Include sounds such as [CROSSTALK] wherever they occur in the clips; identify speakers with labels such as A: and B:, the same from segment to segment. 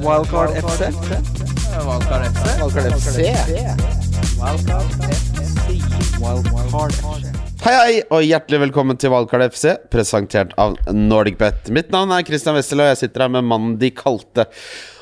A: Wildcard FC.
B: Valgkar FC.
A: Wildcard FC. Wildcard FC.
C: Hei, hei, og hjertelig velkommen til Valgkart FC, presentert av NordicBet. Mitt navn er Christian Wessel, og jeg sitter her med mannen de kalte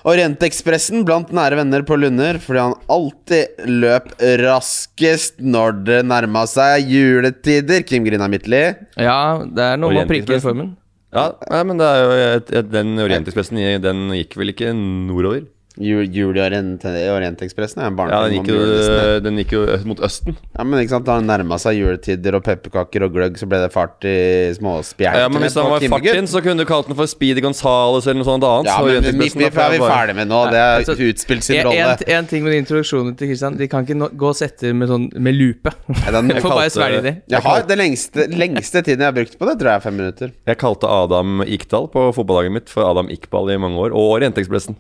C: Orientekspressen blant nære venner på Lunder, fordi han alltid løp raskest når det nærma seg juletider. Kim Grina Midtli.
B: Ja, det er noe med å prikke i formen.
D: Ja, nei, men det er jo et, et, den Orientekspressen i- den gikk vel ikke nordover?
C: Jul, jul i Orient- i Orientekspressen er en
D: Ja,
C: barnefilm om
D: den gikk jo,
C: julenissen, ja.
D: den gikk jo ø- mot østen.
C: ja, men ikke sant, Da han nærma seg juletider og pepperkaker og gløgg, så ble det fart i småspjertene.
D: Ja, men Hvis den var
C: på Kimmegutt.
D: fartin, så kunne du kalt den for Speedy Gonzales eller noe sånt annet.
C: Ja,
D: så
C: men vi,
D: Orientekspressen
C: vi,
D: da får
C: er vi
D: jeg bare-
C: ferdig med nå. Det
B: Nei,
C: har
B: altså,
C: utspilt sin
B: En,
C: rolle.
B: en, en ting med introduksjonen til Kristian. De kan ikke nå- gås etter med, sånn, med lupe.
C: det er
B: [LAUGHS]
C: noe
B: Jeg får bare
D: kalte-
B: svelge de.
C: Jeg har det lengste, lengste tiden jeg har brukt på det, tror jeg er fem minutter.
D: Jeg kalte Adam Ikdal på fotballaget mitt for Adam Ikbal i mange år. Og Orientekspressen.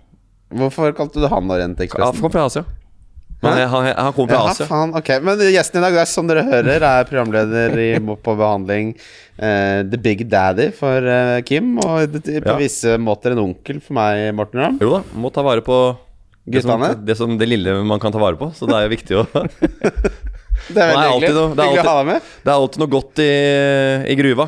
C: Hvorfor kalte du han
D: Ja, han
C: Orientekspressen?
D: kom fra Asia. Men
C: Hæ?
D: han, han, han kom fra
C: Ja,
D: Asia.
C: faen, ok Men gjesten i dag, er, som dere hører, er programleder i Mo- på behandling. eh, the Big Daddy for eh, Kim, og det- på
D: Ja.
C: visse måter en onkel for meg, Morten Ramm.
D: Jo da, må ta vare på det som,
C: Guttene?
D: det som det lille man kan ta vare på. Så det er jo viktig å [LAUGHS]
C: Det er
D: Det er
C: veldig hyggelig.
D: alltid noe- det er
C: Hyggelig å
D: alltid-
C: ha deg med.
D: Det er alltid noe godt i, i gruva.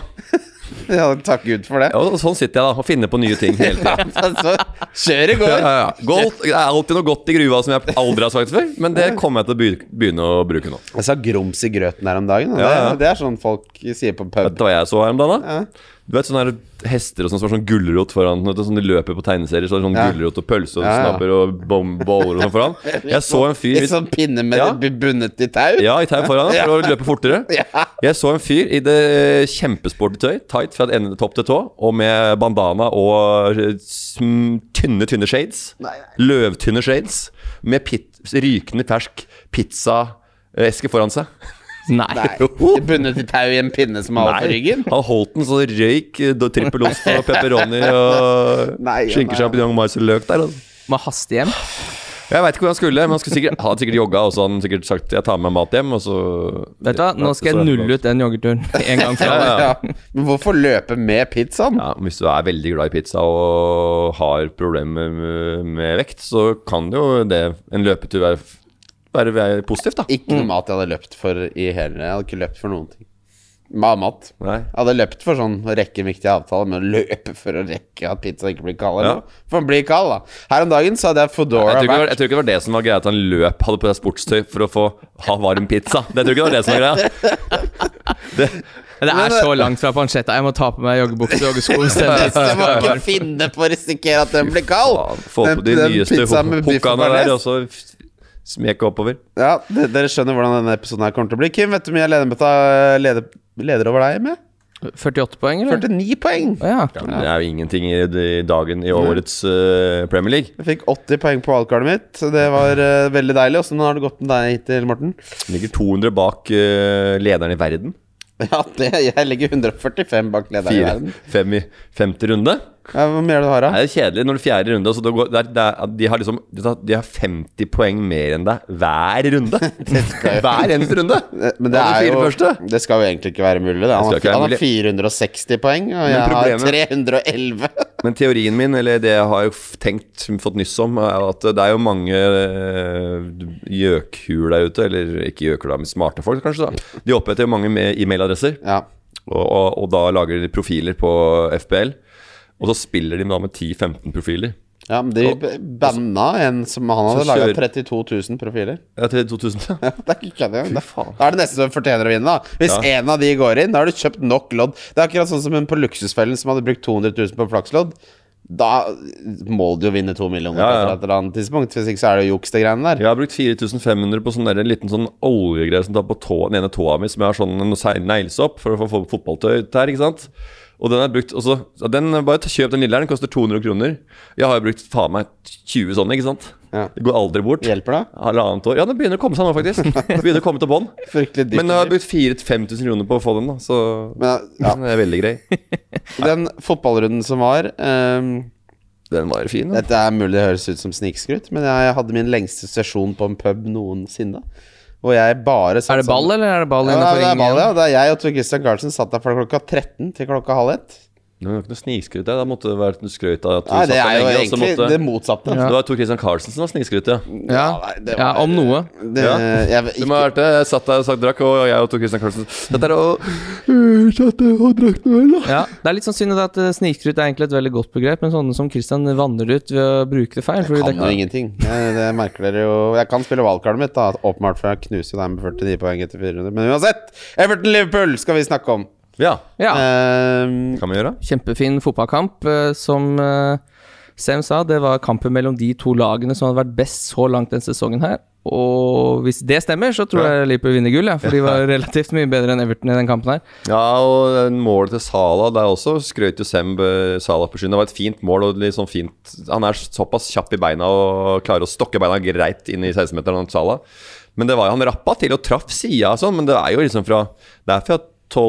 C: Ja, takk Gud for det.
D: Ja, og sånn sitter jeg da og finner på nye ting hele
C: [LAUGHS]
D: tida.
C: altså, kjør i
D: Ja,
C: går.
D: ja, ja. Gold, det er alltid noe godt i gruva som jeg aldri har sagt før, men det kommer jeg til å be- begynne å bruke nå.
C: Jeg sa grums i grøten her om dagen. Og
D: Ja, ja.
C: Det, det er sånn folk sier på
D: Vet
C: pub.
D: du hva jeg så her om dagen? da?
C: Ja.
D: Du vet sånne her hester og sånn som har sånn gulrot foran vet du, Sånn de løper på tegneserier, så er det sånn
C: Ja.
D: gulrot og pølse og
C: Ja, ja.
D: snabber og bom- boller og sånn
C: [LAUGHS]
D: foran. Jeg så en fyr
C: Litt sånn pinne med
D: Ja.
C: det bundet i tau.
D: Ja, i tau foran for å løpe fortere.
C: [LAUGHS] Ja.
D: Jeg så en fyr i det kjempesporty tøy, tight fra ende topp til tå, og med bandana og eh, sm- tynne, tynne shades.
C: Nei, nei.
D: Løvtynne shades. Med pit, rykende fersk pizzaeske foran seg.
B: [LAUGHS] Nei.
D: [LAUGHS]
C: Nei, ikke bundet i tau i en pinne som er på ryggen.
D: han holdt den så det røyk eh, da trippelost og pepperoni
C: [LAUGHS]
D: og
C: Nei, ja, nei.
D: skinkesjampinjong og mais og løk der. altså.
B: Må haste hjem.
D: Jeg veit ikke hvor han skulle, men han skulle sikkert, han hadde sikkert jogga og så hadde han sikkert sagt 'jeg tar med meg mat hjem', og så
B: Vet du hva, nå skal jeg nulle ut den joggeturen [LAUGHS] en gang for
D: [LAUGHS] Ja,
B: alle.
D: ja.
C: Ja. Men hvorfor løpe med pizzaen?
D: Ja, Hvis du er veldig glad i pizza og har problemer med, med vekt, så kan det jo det en løpetur være, være, være positivt, da.
C: Ikke noe mat jeg hadde løpt for i hele Jeg hadde ikke løpt for noen ting. Med mat.
D: Nei.
C: Jeg hadde løpt for sånn å rekke en viktig avtale, men å løpe for å rekke at pizza ikke blir kald. eller
D: Ja.
C: noe. For den blir kald, da. Her om dagen så hadde jeg
D: Jeg
C: Foodora
D: tror, ikke det var, [LAUGHS]
C: vært
D: jeg tror ikke det var det som var greia, at han løp hadde på seg sportstøy for å få ha varm pizza. Det tror jeg ikke det var det som var
C: [LAUGHS]
D: greia. Det,
B: Det er så langt fra pansjetta. Jeg må ta på meg joggebukse og joggesko.
C: [LAUGHS] Hvis du må
B: istedenfor.
C: ikke finne på å risikere at den blir kald!
D: faen, få på de
C: Den- den
D: nyeste
C: pizzaen med biff og
D: hokkene der, og
C: bearnés.
D: så f- smeke oppover.
C: Ja, de- dere skjønner hvordan denne episoden her kommer til å bli. Kim, vet du hvor mye jeg leder, beta- leder, leder over deg med?
B: 48 poeng, eller?
C: 49 poeng!
B: Å, Ja.
D: Men det er jo ingenting i, i dagen
C: Mm.
D: i årets eh, Premier League.
C: Jeg fikk 80 poeng på valgkartet mitt, så det var eh, veldig deilig. Åssen har det gått med deg hittil, Morten?
D: Ligger 200 bak eh, lederen i verden.
C: Ja, det, jeg ligger 145 bak lederen i
D: Fire,
C: verden.
D: fem i femte runde.
C: Ja, hvor mye er det du har, da?
D: Nei, det er kjedelig når det er fjerde runde. Altså, det går, det er, det er, at de har liksom de har- de har 50 poeng mer enn deg hver
C: [LAUGHS]
D: runde. hver eneste runde!
C: Eh, Men det,
D: Av de
C: er
D: fire
C: jo,
D: første.
C: det skal jo egentlig ikke være mulig. Det. Han,
D: skal
C: har,
D: ikke være
C: han har
D: mulig.
C: 460 poeng, og jeg har
D: problemet- [LAUGHS]
C: 311.
D: Men teorien min, eller det jeg har f- tenkt, fått nyss om, er at det er jo mange eh, gjøkhuer der ute, eller ikke gjøkhuer, da, men smarte folk kanskje, da. De oppretter jo mange med e-mailadresser,
C: Ja.
D: og, og, og da lager de profiler på FBL. Og så spiller de da med 10-15 profiler.
C: ja, men de b- banna en som han hadde
D: Så
C: laga
D: kjører-
C: 32 000 profiler.
D: Ja, til 2000.
C: Ja, [LAUGHS] det er ikke kødd engang.
D: Fy faen.
C: Da er det nesten så du fortjener å vinne. da Hvis
D: Ja.
C: en av de går inn, da har du kjøpt nok lodd. Det er akkurat sånn som hun på Luksusfellen som hadde brukt 200 000 på flakslodd. Da må du jo vinne to millioner
D: Ja,
C: på
D: ja.
C: et eller annet tidspunkt. Hvis ikke så er det juks, de greiene der.
D: Jeg har brukt 4500 på sånn der, en liten sånn oljegreie som tar på tå, den ene tåa mi, som jeg har sånn en seil- neglesopp for å få- få fotballtøy ut her, ikke sant? Og den er brukt og så- så den, Bare ta- kjøp den lille her, den koster 200 kroner. Jeg har jo brukt faen meg 20 sånne, ikke sant?
C: Ja.
D: Det går aldri bort.
C: Hjelper det?
D: Halvannet år. Ja, den begynner å komme seg nå, faktisk.
C: [LAUGHS]
D: begynner å komme til bånn.
C: Fryktelig dyrt.
D: Men eh, jeg har brukt 4000-5000 kroner på å få den, da, så
C: Men, ja,
D: den er veldig grei.
C: den fotballrunden som var ehm,
D: Den var fin. da.
C: Dette er mulig det høres ut som snikskryt, men jeg hadde min lengste sesjon på en pub noensinne. Hvor jeg bare satt
B: Er det ball, eller er det ball
C: Ja,
B: innenfor
C: det er
B: ringen?
C: ball,
B: igjen?
C: ja. Det er jeg og Tor Christian Carlsen satt der fra klokka 13 til klokka halv ett.
D: Det var jo ikke noe snikskryt. det. Da måtte det være skrøyt av at du
C: Nei,
D: satt
C: det er
D: der
C: jo
D: lenge. og så
C: egentlig
D: måtte,
C: det motsatte.
D: Det var Tor Christian Carlsen som var snikskryt, ja.
B: Ja,
C: nei, det
B: ja
C: var-
B: om noe.
C: Det,
D: Ja.
C: jeg,
D: Du må ha
C: ikke,
D: hørt det. Jeg satt der og sagt drakk, og jeg og Tor Christian Carlsen satt der og øh, Satt der og drakk noe øl, da.
B: Ja, Det er litt sånn synd at eh, snikskryt er egentlig et veldig godt begrep, men sånne som Christian vanner ut ved å bruke det feil. fordi
C: kan
B: det-
C: jo ingenting. Jeg, det merker dere jo Jeg kan spille valgkartet mitt, da. Åpenbart for jeg knuser dem med 49 poeng etter 400. Men uansett! Everton-Liverpool skal vi snakke om.
D: Ja.
B: Ja,
C: Ehm,
D: Kan vi gjøre?
B: kjempefin fotballkamp. eh, Som eh, Sam sa, det var kampen mellom de to lagene som hadde vært best så langt denne sesongen her. Og hvis det stemmer, så tror jeg Liverpool vinner gull, ja, for de var relativt mye bedre enn Everton i den kampen her.
D: Ja, og eh, målet til Sala der også skrøt jo Semb eh, Sala på skyen. Det var et fint mål. og litt sånn fint Han er såpass kjapp i beina og klarer å stokke beina greit inn i 16-meteren. han Sala. Men det var jo han rappa til og traff sida og sånn, men det er jo liksom fra Det er fra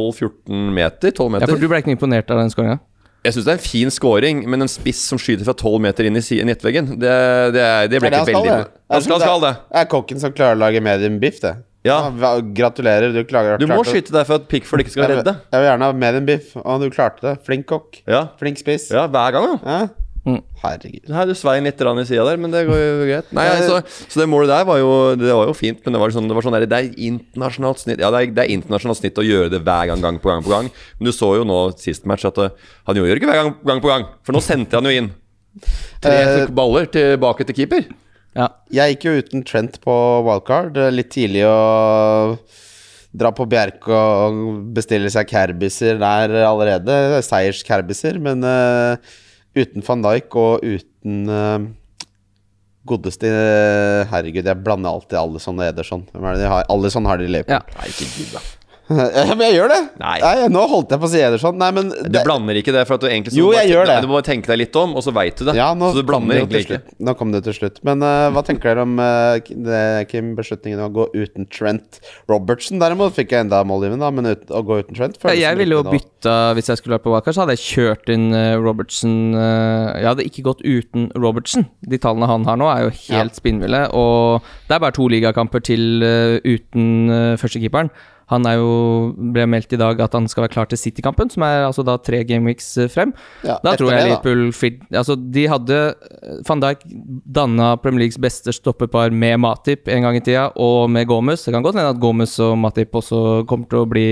D: 12-14 meter.
B: Ja,
D: 12 meter.
B: for Du ble ikke noe imponert av den skåringa?
D: Jeg syns det er en fin scoring, men en spiss som skyter fra 12 meter inn i si- nettveggen, det, det, er- det
C: er
D: ble
C: det
D: ikke
C: han skal,
D: veldig
C: det?
D: Han skal, skal det.
C: Det er kokken som klarer å lage medium biff, det.
D: Ja.
C: hva- Gratulerer. Du klarer
D: Du må
C: klarte-
D: skyte der for at Pickford ikke skal
C: Jeg vil-
D: redde.
C: Jeg vil gjerne ha medium biff. Å, du klarte det. Flink kokk.
D: Ja,
C: Flink spiss.
D: ja hver gang, ja.
C: Ja.
B: Mm.
C: Herregud.
D: Her, du svein litt rann i sida der, men det går jo greit. Nei, altså, så det målet der var jo, det var jo fint, men det var sånn, det var sånn der, det er internasjonalt snitt Ja, det er, det er internasjonalt snitt å gjøre det hver gang, gang på gang på gang. Men du så jo nå sist match at eh, han gjorde det ikke hver gang, gang på gang, for nå sendte han jo inn tre
C: Eh,
D: baller tilbake til keeper.
B: Ja.
C: Jeg gikk jo uten Trent på wildcard. Det er Litt tidlig å dra på Bjerke og bestille seg kerbiser der allerede. Seierskerbiser. Men eh, uten van Dijk og uten eh, godeste eh, Herregud, jeg blander alltid Alison og Ederson. Hvem er det de har? Alison har de i Liverpool.
B: Ja.
D: Nei, ikke gud, da.
C: [LAUGHS] Ja, men jeg gjør det!
D: Nei.
C: nå holdt jeg på å si Ederson. Nei, men
D: Du blander ikke det, for at du egentlig så
C: Jo,
D: du
C: jeg
D: bare,
C: gjør det.
D: Nei, Du må bare tenke deg litt om, og så veit du det.
C: [LAUGHS] Ja, nå kom
D: så du
C: det
D: blander
C: jo
D: egentlig
C: til
D: ikke.
C: slutt. Nå kom det til slutt. Men eh, hva tenker dere om eh, k- det, Kim, beslutningen om å gå uten Trent Robertson? Derimot fikk jeg enda målgivende, da, men ut, å gå uten Trent
B: Ja,
C: føles
B: jeg
C: som
B: ville jo
C: riktig nå.
B: bytta Hvis jeg skulle vært på wildcard, så hadde jeg kjørt inn eh, Robertson. eh, Jeg hadde ikke gått uten Robertson. De tallene han har nå, er jo helt spinnville. Og det er bare to ligakamper til eh, uten eh, førstekeeperen. Han er jo, ble meldt i dag at han skal være klar til City-kampen, som er altså da tre gameweeks eh, frem.
C: Ja,
B: Da
C: etter
B: tror jeg
C: det, da.
B: Liverpool fit, Altså, de hadde eh, Van Dijk danna Premier Leagues beste stoppepar med Matip en gang i tida, og med Gomez. Det kan godt hende at Gomez og Matip også kommer til å bli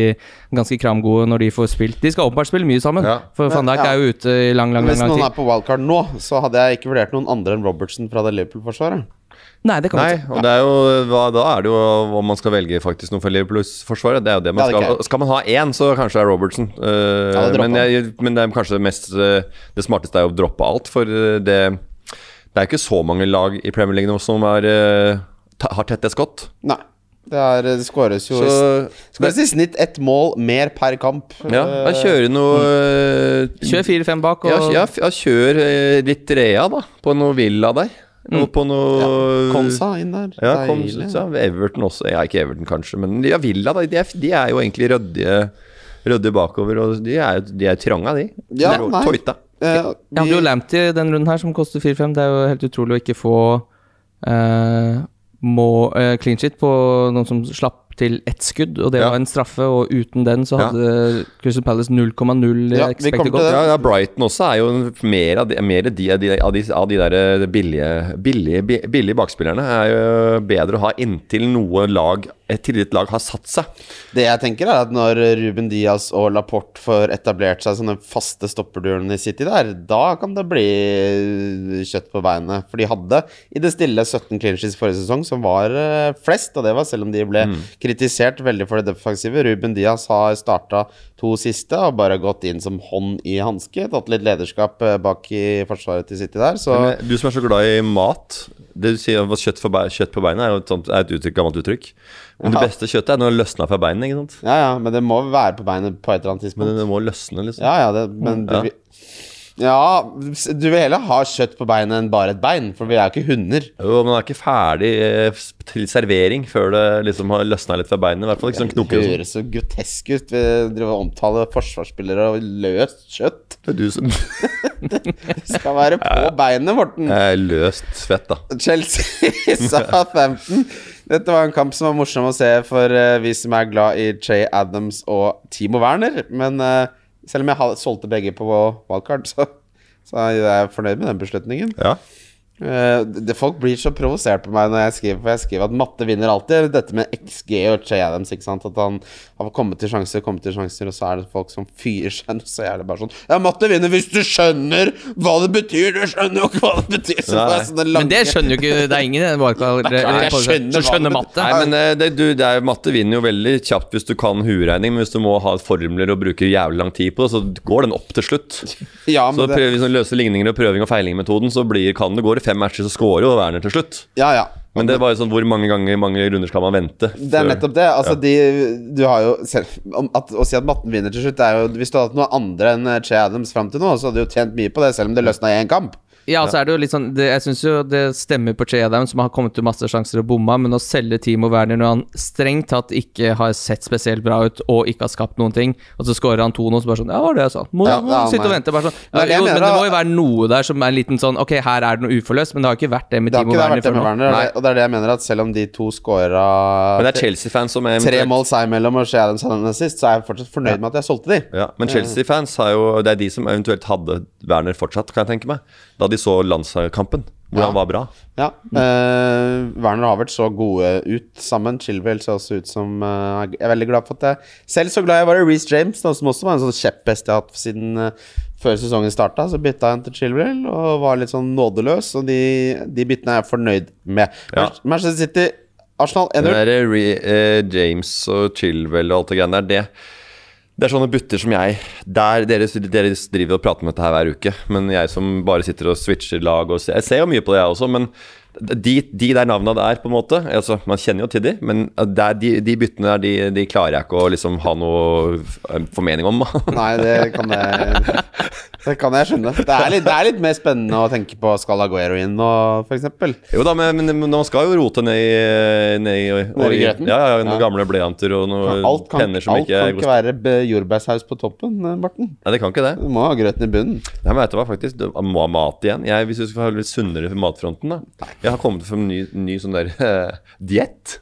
B: ganske kramgode når de får spilt. De skal åpenbart spille mye sammen,
D: Ja.
B: for Van
C: Men,
B: Dijk
C: ja.
B: er jo ute i lang, lang, lang,
C: Hvis
B: lang
C: noen
B: tid.
C: er på wildcard nå, så hadde jeg ikke vurdert noen andre enn Robertson fra det Liverpool-forsvaret.
B: Nei, det kan
D: Nei,
B: vi ikke.
D: og det er jo, hva, da er det jo om man skal velge faktisk noe for Liverpool-forsvaret. Det er jo det man
C: Ja, det
D: skal.
C: kan jeg.
D: Skal man ha én, så kanskje det er Robertson. Eh,
C: Ja, det dropper
D: men, jeg, men det er kanskje det mest eh, Det smarteste er jo å droppe alt, for eh, det Det er ikke så mange lag i Premier League nå som er, eh, ta, har tette skott.
C: Nei. Det, er, det skåres jo
D: Så
C: i, s- skåres i snitt ett mål mer per kamp.
D: ja, da
C: eh,
D: kjører noe
C: mm.
D: eh,
B: Kjør 4-5 bak,
D: Ja,
B: og
D: ja, f- ja kjør eh, litt Rea, da. På noe villa der.
B: Mm.
D: Noe på noe
C: Konsa inn der.
D: Ja, kom,
C: Deilig.
D: ja, Everton også. Ja, ikke Everton, kanskje, men ja, Villa, da. De er, de er jo egentlig ryddige ryddige bakover, og de er, jo- de er trange, de.
C: Ja,
D: de er
C: nei.
D: Tøyta.
C: Eh,
B: Jeg hadde jo
C: vi-
B: Lamptey denne runden her, som koster 4-5. Det er jo helt utrolig å ikke få eh, må, eh, clean shit på noen som slapp til ett skudd, og det
D: Ja.
B: var en straffe. Og uten den så
D: Ja.
B: hadde Crystal Palace 0,0
C: Ja,
B: ja,
C: vi kommer
B: eh, expected
C: til
B: goal.
D: Ja, ja, Brighton også er jo en- mer av de, mer av de, av de, av de, av de der eh, billige, billige, bi- billige bakspillerne. er jo bedre å ha inntil noe lag, et tillit lag har satt seg.
C: Det jeg tenker er at når Ruben Diaz og Laporte får etablert seg som den faste stopperduoen i City der, da kan det bli kjøtt på beinet. For de hadde i det stille 17 clinches forrige sesong, som var eh, flest, og det var selv om de ble kritisert veldig for det defensive. Ruben Diaz har starta to siste og bare gått inn som hånd i hanske. Tatt litt lederskap eh, bak i forsvaret til City der, så
D: Men Du som er så glad i mat Det du sier om at kjøtt, for bei- kjøtt på beina er jo et, sånt, er et uttrykk, gammelt uttrykk. Men det beste kjøttet er når det løsner fra beinet. ikke sant?
C: Ja ja, men det må være på beinet på et eller annet tidspunkt.
D: Men det må løsne, liksom.
C: Ja, ja, det, men du
D: Ja.
C: vil Ja, du vil heller ha kjøtt på beinet enn bare et bein, for vi er jo ikke hunder.
D: Jo, men det er ikke ferdig eh, s- til servering før det liksom har løsna litt fra beinet. I hvert fall ikke
C: Det
D: sånn knoker og sånn.
C: høres så grotesk ut. Vi driver og omtaler forsvarsspillere og løst kjøtt.
D: Det er du som
C: Det skal være på beinet, Morten.
D: Det er løst svett, da. [LAUGHS]
C: Chelsea Southampton. Dette var en kamp som var morsom å se for eh, vi som er glad i Jay Adams og Timo Werner. Men eh, Selv om jeg ha- solgte begge på wildcard, så, så er jeg fornøyd med den beslutningen.
D: Ja.
C: Eh, det, folk blir så provosert på meg når jeg skriver, for jeg skriver at matte vinner alltid. Dette med XG og Che Adams, ikke sant. At han har kommet til sjanser, kommet til sjanser, og så er det folk som fyrer seg. [LAUGHS] Så er det bare sånn Ja, matte vinner hvis du skjønner hva det betyr! Du skjønner jo ikke hva det betyr! Så
D: Nei.
C: det er sånne
B: Men det skjønner jo ikke Det er ingen i den wildcard-
C: jeg skjønner
B: som
C: hva det-
B: skjønner matte.
D: Nei, men eh, det, du, det er, Matte vinner jo veldig kjapt hvis du kan hueregning, men hvis du må ha formler og bruke jævlig lang tid på det, så går den opp til slutt.
C: ja,
D: Så
C: men det,
D: prøv, hvis du løser ligninger og prøving og feiling-metoden, så blir, kan det gå i fem matcher, så scorer jo Werner til slutt.
C: ja, ja.
D: Men det er bare sånn, hvor mange ganger mange runder skal man vente?
C: Det er
D: før-
C: nettopp det. Altså, de, du har jo selv, om, at, Å si at matten vinner til slutt det er jo, Hvis du hadde hatt noe andre enn eh, Che Adams fram til nå, så hadde du jo tjent mye på det, selv om det løsna i én kamp.
B: Ja, så er det jo litt sånn det, Jeg syns jo det stemmer på Che Adams, som har kommet til masse sjanser og bomma, men å selge Timo Werner når han strengt tatt ikke har sett spesielt bra ut og ikke har skapt noen ting, og så scorer han to nå, så bare sånn Ja, var det jeg sa. Må,
C: Ja,
B: må
C: ja,
B: sitte og
C: nei.
B: vente, bare sånn.
C: Men jeg
B: jo,
C: mener
B: men det
C: da-
B: må jo være noe der som er en liten sånn Ok, her er det noe uforløst, men det har ikke vært det med
C: Det har
B: Timo
C: ikke det
B: Werner
C: vært det
B: før
C: med
B: nå.
C: Werner, og
B: Nei.
C: det- og det er det jeg mener, at selv om de to scora
D: Men det er Chelsea-fans som er
C: tre mål seg imellom og Che Adams hadde den sist, så er jeg fortsatt fornøyd med at jeg solgte de.
D: Ja, men Chelsea-fans har jo Det er de som eventuelt hadde Werner fortsatt, kan jeg tenke meg. Da de så landskampen, hvor
C: Ja.
D: han var bra.
C: Ja.
D: Mm.
C: eh, Werner og Havert så gode ut sammen. Chilwell ser også ut som eh, Jeg er veldig glad for at jeg Selv så glad jeg var i Reece James, da, som også var en sånn kjepphest jeg har hatt siden eh, før sesongen starta. Så bytta jeg han til Chilwell og var litt sånn nådeløs, og de, de byttene er jeg fornøyd med.
D: Ja.
C: Manch- Manchester City, Arsenal
D: Det
C: 1-0.
D: der eh, re, eh, James og Chilwell og alt det greiene der, det det er sånne butter som jeg der dere, dere driver og prater om dette her hver uke, men jeg som bare sitter og switcher lag og ser, Jeg ser jo mye på det, jeg også, men de, de der navna der, på en måte altså, Man kjenner jo til de, men eh, det er de, de byttene der, de, de klarer jeg ikke å liksom ha noe eh, formening om.
C: [LAUGHS] Nei, det kan jeg Det kan jeg skjønne. Det er, litt, det er litt mer spennende å tenke på skal Aguero inn nå, f.eks.
D: Jo da, men, men men man skal jo rote ned i Ned i,
C: Ned i grøten?
D: Ja, ja, noen
C: Ja.
D: gamle blyanter og noen
C: Alt kan,
D: penner som
C: alt
D: ikke,
C: kan
D: er
C: ikke
D: gode-
C: være be- jordbærsaus på toppen, eh, Morten.
D: Nei, det kan ikke det.
C: Du må ha grøten i bunnen.
D: Nei, men vet du hva, faktisk. Det må ha mat igjen. Jeg, hvis du skal ha litt sunnere for matfronten, da. Jeg har kommet for en ny, ny sånn der eh, diett.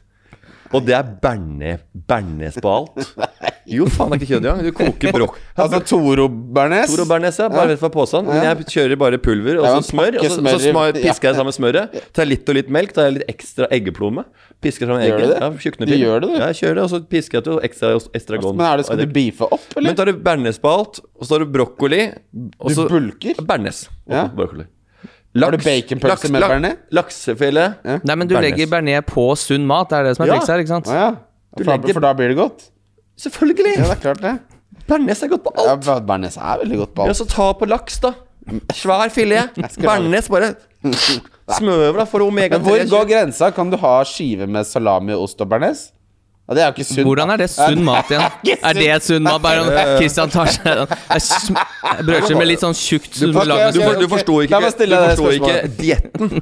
D: Og det er berne, bernes på alt.
C: [LAUGHS]
D: Jo, faen, det er ikke kjøtt engang. Du koker brokk.
C: Altså Toro Bernes.
D: Toro Bernes, ja. Bare vet fra påsen. Men jeg kjører bare pulver og
C: Det er jo
D: så
C: en
D: smør. Og
C: pakke
D: så,
C: smør
D: så
C: i-
D: smør,
C: ja.
D: pisker jeg sammen smøret. Tar litt og litt melk. Tar jeg litt ekstra eggeplomme. Pisker sammen
C: Gjør du
D: egget.
C: det?
D: Ja, tjukner
C: Du
D: til.
C: gjør det, du? Altså,
D: Ja, jeg kjører det, og så pisker jeg til ekstra estragon.
C: Men er det, skal du beefe opp,
D: Men
C: eller?
D: tar du bernes på alt, og så har du brokkoli og
C: Du
D: så,
C: bulker?
D: Bernes. og
C: Ja.
D: brokkoli.
C: Har du baconpølse med bernes?
D: Laksefele.
B: Nei, men du
D: Bernes.
B: legger bearnés på sunn mat, det er det som er
D: Ja.
B: trikset her, ikke sant?
C: Å ja. For da,
D: legger-
C: for da blir det godt?
D: Selvfølgelig!
C: Ja, det er klart det.
D: Bernes er godt på
C: Ja,
D: alt.
C: ba- Bernes er veldig godt på
D: Ja,
C: alt.
D: så ta på laks, da. Svær
C: [LAUGHS]
D: filet.
C: skal ha det.
D: Bernes bare
C: [LAUGHS]
D: Smøver, da, for omega
C: Men hvor
D: 3.
C: går grensa? Kan du ha skive med salami, ost og bearnés? Ja, det er jo ikke sunt.
B: Hvordan er det sunn mat
C: [LAUGHS]
B: igjen? Er det sunn mat? Bare sånn, Christian tar seg en- en sm- brødskive med litt sånn tjukt
C: pakker-
D: Du,
B: lammesmør.
D: for, du
C: Ok,
D: forsto ikke,
C: la meg
D: du
C: stille deg det
D: forstår ikke
C: spørsmålet.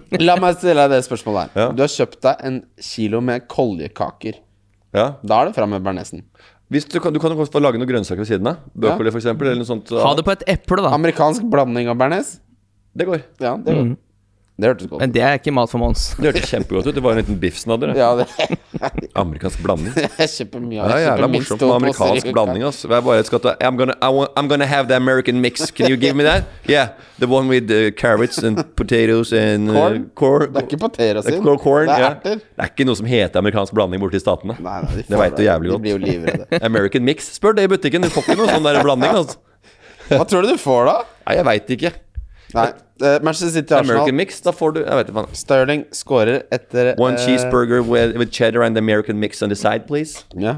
D: dietten.
C: La meg stille deg det spørsmålet her.
D: Ja.
C: Du har kjøpt deg en kilo med koljekaker.
D: Ja.
C: Da er det fram med bearnésen.
D: Hvis du, kan, du kan jo godt få lage noen grønnsaker ved siden av. Brokkoli, for eksempel, eller noe sånt.
B: Ha det på et eple, da.
C: Amerikansk blanding av bearnés?
D: Det går.
C: Ja, det,
D: Mm.
C: går. det hørtes godt ut.
B: Men det er ikke mat for Mons.
D: Det hørtes kjempegodt ut. Det var en liten biffsnadder.
C: Ja, det, [LAUGHS]
D: Amerikansk blanding.
C: jeg kjøper mye av
D: Det er jævla
C: kjøper minst
D: morsomt
C: to
D: med
C: poser i
D: amerikansk
C: uka.
D: blanding. Ass. Jeg bare skal ta, I'm, gonna, I want, I'm gonna have the American mix. Can you give me that? Yeah, the one with uh, carrots and potatoes and uh,
C: Corn?
D: corn.
C: Det er ikke poteter
D: Det er
C: sin.
D: corn, corn,
C: det er
D: ja.
C: erter.
D: Det er ikke noe som heter amerikansk blanding borte i statene.
C: Nei, nei, de
D: det
C: får
D: veit du jævlig
C: De blir jo
D: godt.
C: livredde.
D: American mix. Spør det i butikken. Du får ikke noe sånn der blanding. Altså.
C: Hva tror du du får, da?
D: Nei, jeg veit ikke.
C: Nei, eh, Manchester City
D: American
C: Arsenal.
D: mix, da får du Jeg vet ikke faen.
C: Sterling scorer etter
D: One
C: eh,
D: cheeseburger with, with cheddar and the American mix on the side, please.
C: Ja.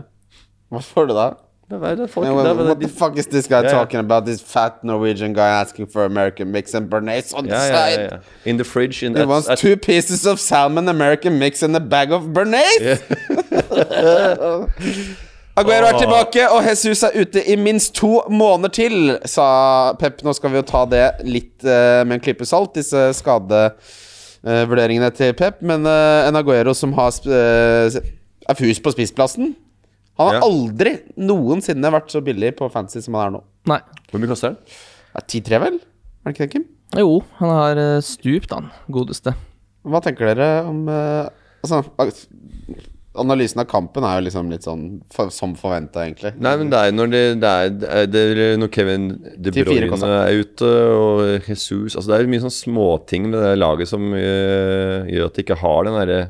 C: Hva får du da?
D: Det var, det får
C: Yeah,
D: ikke, det
C: well,
D: var,
C: what the
D: det,
C: fuck is this guy
D: Ja, ja.
C: talking about? This fat Norwegian guy asking for American mix and bearnaise on the
D: ja, ja,
C: side.
D: ja, ja. In the fridge in,
C: He wants
D: at-
C: two pieces of salmon American mix and a bag of bearnaise. [LAUGHS] Aguero er tilbake, og Jesus er ute i minst to måneder til, sa Pep. Nå skal vi jo ta det litt eh, med en klype salt, disse skadevurderingene til Pep. Men eh, en Aguero som har sp eh, er fus på spissplassen Han har
D: Ja.
C: aldri noensinne vært så billig på fantasy som han er nå.
B: Nei.
D: Hvor mye koster den?
C: Det er 10-3, vel? Er det ikke det, Kim?
B: Jo, han har eh, stupt, han godeste.
C: Hva tenker dere om eh, Altså, analysen av kampen er jo liksom litt sånn for, som forventa, egentlig.
D: Nei, men det er jo når det, det, er, det er når Kevin De
C: 10-4
D: Bruyne
C: Costa.
D: er ute og Jesus altså Det er jo mye sånn småting med det der laget som øh, gjør at de ikke har den derre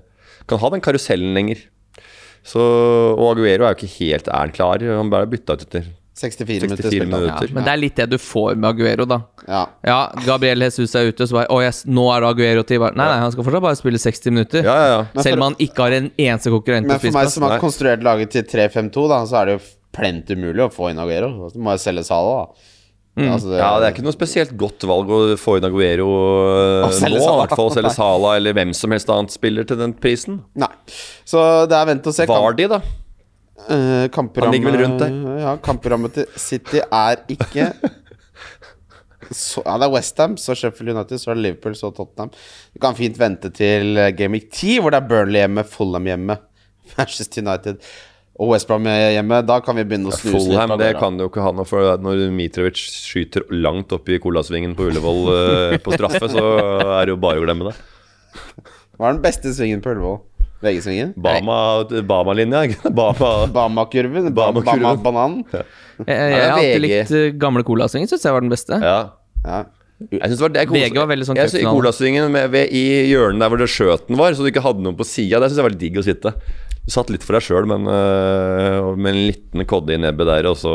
D: Kan ha den karusellen lenger. Så, og Aguero er jo ikke helt er han klar. Han bare er bytta ut etter
C: 64 minutter
D: 64
C: spilt. da.
B: Ja,
D: minutter.
B: men det er litt det du får med Aguero, da.
C: Ja.
B: Ja, Gabriel Jesus er ute, så bare Å, yes, nå er det Aguero til Nei, nei, han skal fortsatt bare spille 60 minutter.
D: Ja, ja, ja.
C: Men for-
B: Selv om han ikke har en eneste konkurrent på
C: Men for meg
B: spiseplass.
C: som har
D: Nei.
C: konstruert laget til 3-5-2, da, så er det jo plent umulig å få inn Aguero. Så må jeg selge Sala, da. Altså,
D: Mm. Ja, det er ikke noe spesielt godt valg å få inn Aguero øh,
C: Og selge
D: nå, i
C: Salah.
D: hvert fall. Selge Sala eller hvem som helst annet spiller til den prisen.
C: Nei. Så det er vent og se. Kamp,
D: Vardi, da.
C: eh, kampprogram-
D: Han ligger vel rundt der.
C: Ja, kampprogrammet til City er ikke så, ja, Det er Westham, så Sheffield United, så er det Liverpool, så Tottenham. Du kan fint vente til eh, Game Week 10, hvor det er Burnley hjemme, Fulham hjemme, [LAUGHS] Manchester United og West Brom hjemme. Da kan vi begynne å snuse litt.
D: Fullham,
C: på
D: det
C: Aguero.
D: kan du jo ikke ha noe for. Når Mitrovic skyter langt opp i colasvingen på Ullevål [LAUGHS] eh, på straffe, så er det jo bare å glemme det.
C: Hva er den beste svingen på Ullevål? VG-svingen?
D: Bama- Bama-linja, ikke [LAUGHS] Bama
C: Bamakurven?
D: Bamakurven.
C: Bama-bananen?
B: Jeg, jeg,
D: [LAUGHS] Ja,
B: har alltid
D: VG.
B: likt eh, gamle Colasvingen, syns jeg var den beste.
D: ja.
C: Ja.
D: Jeg synes det var, det er kos-
B: VG var veldig sånn
D: Jeg synes I
B: cupfinale.
D: colasvingen med- ved- i hjørnet der hvor det skjøten var, så du ikke hadde noen på sida, der syns jeg var litt digg å sitte. Du satt litt for deg sjøl, men eh, og med en liten kodde i nebbet der, og så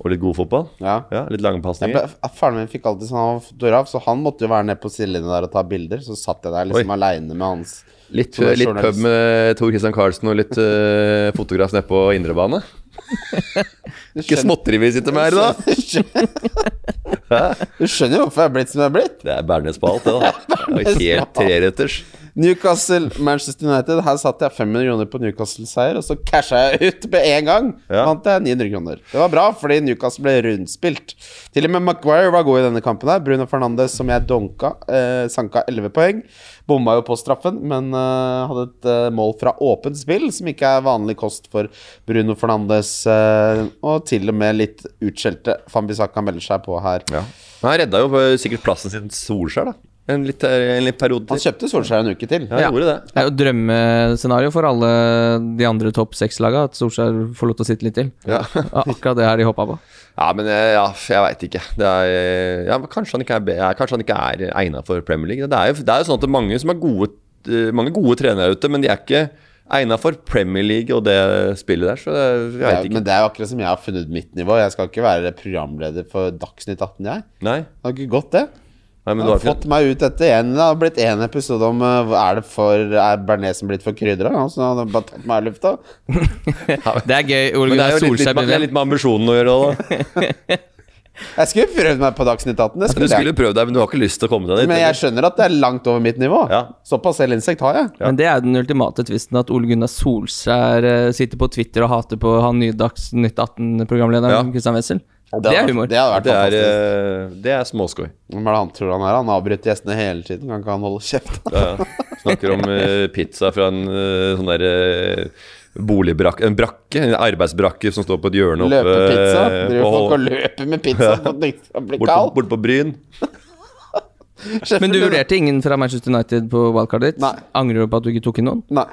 D: Og litt god fotball.
C: Ja.
D: litt lange
C: Jeg
D: pasninger.
C: ble, faren min fikk alltid sånn han var fotograf, så han måtte jo være nede på sidelinja der og ta bilder. Så satt jeg der liksom
D: Oi.
C: aleine med hans
D: Litt,
C: Som en
D: litt
C: journalist.
D: pub med Tor Christian Karlsen og litt eh, fotograf nede på indrebane. Ikke småtteri vi sitter med her,
C: [LAUGHS]
D: da!
C: Du skjønner jo hvorfor jeg er blitt som jeg er blitt.
D: Det er Bernes på alt,
C: [LAUGHS]
D: det, da. Det er jo Helt treretters.
C: Newcastle, Manchester United. Her satt jeg 500 kroner på Newcastle-seier, og så casha jeg ut med en gang.
D: Ja.
C: Vant jeg 900 kroner. Det var bra, fordi Newcastle ble rundspilt. Til og med Maguire var god i denne kampen her. Bruno Fernandes, som jeg donka, eh, sanka 11 poeng. Bomma jo på straffen, men eh, hadde et eh, mål fra åpent spill, som ikke er vanlig kost for Bruno Fernandes. Eh, og til og med litt utskjelte Fambisaka melder seg på her.
D: Ja. Men Han redda jo eh, sikkert plassen sin til Solskjær, da. En litt, øh, en litt periode
C: Han
D: til.
C: kjøpte Solskjær en uke til.
D: Ja, han
B: Ja.
D: gjorde det.
B: Det er jo et drømmescenario for alle de andre topp seks-laga at Solskjær får lov til å sitte litt til.
D: Ja,
B: Ja, akkurat det her de hoppa på.
D: ja men eh, ja, jeg veit ikke. Det er, eh, ja, men kanskje han ikke er, be- ja, kanskje han ikke er egna for Premier League. Det er, jo, det er jo sånn at det er mange som er gode, eh, mange gode trenere ute, men de er ikke egna for Premier League og det spillet der, så det, jeg
C: Det er-
D: veit ikke.
C: Men det er jo akkurat som jeg har funnet mitt nivå. Jeg skal ikke være programleder for Dagsnytt 18, jeg.
D: Nei.
C: Det har ikke gått, det.
D: Nei,
C: Jeg
D: men du
C: har
D: har ikke
C: fått meg ut etter én. Det har blitt én episode om eh, hva er det for Er bearnesen blitt for krydra? Ja, Så han har bare tatt meg i lufta.
B: Det er gøy. Ole
D: Men det er
B: Gunnar
D: jo litt, litt,
B: Solskjær
D: med- det er
B: begynner.
D: litt med ambisjonen å gjøre òg, da.
C: Jeg skulle prøvd meg på Dagsnytt 18, det
D: Du
C: skulle jeg.
D: skulle prøvd deg, men du har ikke lyst til å komme deg dit.
C: Men jeg
D: eller?
C: skjønner at det er langt over mitt nivå.
D: Ja.
C: Såpass selvinsekt har jeg.
B: Men det er jo den ultimate tvisten at Ole Gunnar Solskjær eh, sitter på Twitter og hater på han nye Dagsnytt 18-programlederen
D: Ja.
B: Kristian Wessel.
C: hadde
B: Det, er
C: vært-
B: humor.
C: Det hadde vært
D: Det er,
C: fantastisk.
D: eh, det er småskoj.
C: Hvem er det han tror han er? Han avbryter gjestene hele tiden. Kan ikke han holde kjeft?
D: Ja, ja. Snakker om eh, pizza fra en eh, sånn der eh, boligbrakke En brakke, en arbeidsbrakke som står på et hjørne oppe
C: Løpepizza?
D: eh,
C: Driver folk
D: på-
C: og løper med pizza på at den ikke skal bli
D: bort, på,
C: kald?
D: bort på Bryn.
B: Men du vurderte ingen fra Manchester United på wildcardet ditt?
C: Nei.
B: Angrer du på at du ikke tok inn noen?
C: Nei.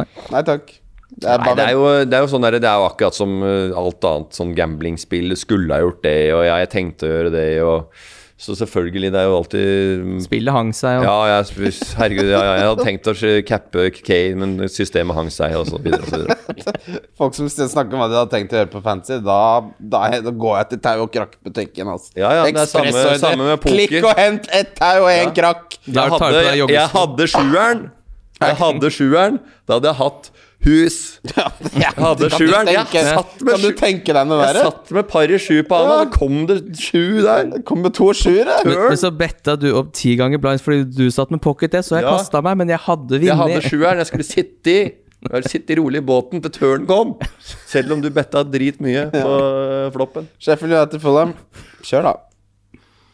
B: Nei.
C: Nei takk. Det er
D: Nei,
C: bare
D: det er jo, det er jo sånn der, det er jo akkurat som eh, alt annet sånn gamblingspill. Skulle ha gjort det, og ja, jeg tenkte å gjøre det, og Så selvfølgelig, det er jo alltid mm,
B: Spillet hang seg, og
D: Ja, jeg, herregud, ja, ja, jeg hadde tenkt å cappe Kane, men systemet hang seg, og så videre og så videre.
C: folk som snakker om hva de hadde tenkt å gjøre på fancy. Da, da, da går jeg til tau og krakk-butikken. Altså.
D: Ja, ja, det er samme-
C: Ekspressordre.
D: samme med poker.
C: Klikk og hent ett tau og én
D: [LAUGHS]
C: krakk.
B: [LAUGHS] Da
D: Jeg
B: tar du på deg
D: hadde, jeg
B: joggesko.
D: hadde sjueren. Jeg hadde sjueren. Da hadde jeg hatt hus.
C: Ja,
D: hadde
C: kan du
D: sjueren. Jeg
C: tenke-
D: satt med
C: Kan du
D: sju-
C: tenke deg noe
D: Jeg
C: verre?
D: satt med par i sju på Anna,
C: Ja.
D: og så kom det sju der.
C: Det kom med to sjuere.
B: Men, men så betta du opp ti ganger blinds fordi du satt med pocket S, og jeg
D: Ja.
B: kastet kasta meg, men jeg hadde
D: Jeg hadde
B: vunnet.
D: sjueren. Jeg skulle sitte i jeg skulle sitte rolig i båten til tørn kom. Selv om du betta dritmye på øh, floppen.
C: Sheffield United Fulham. Kjør, da.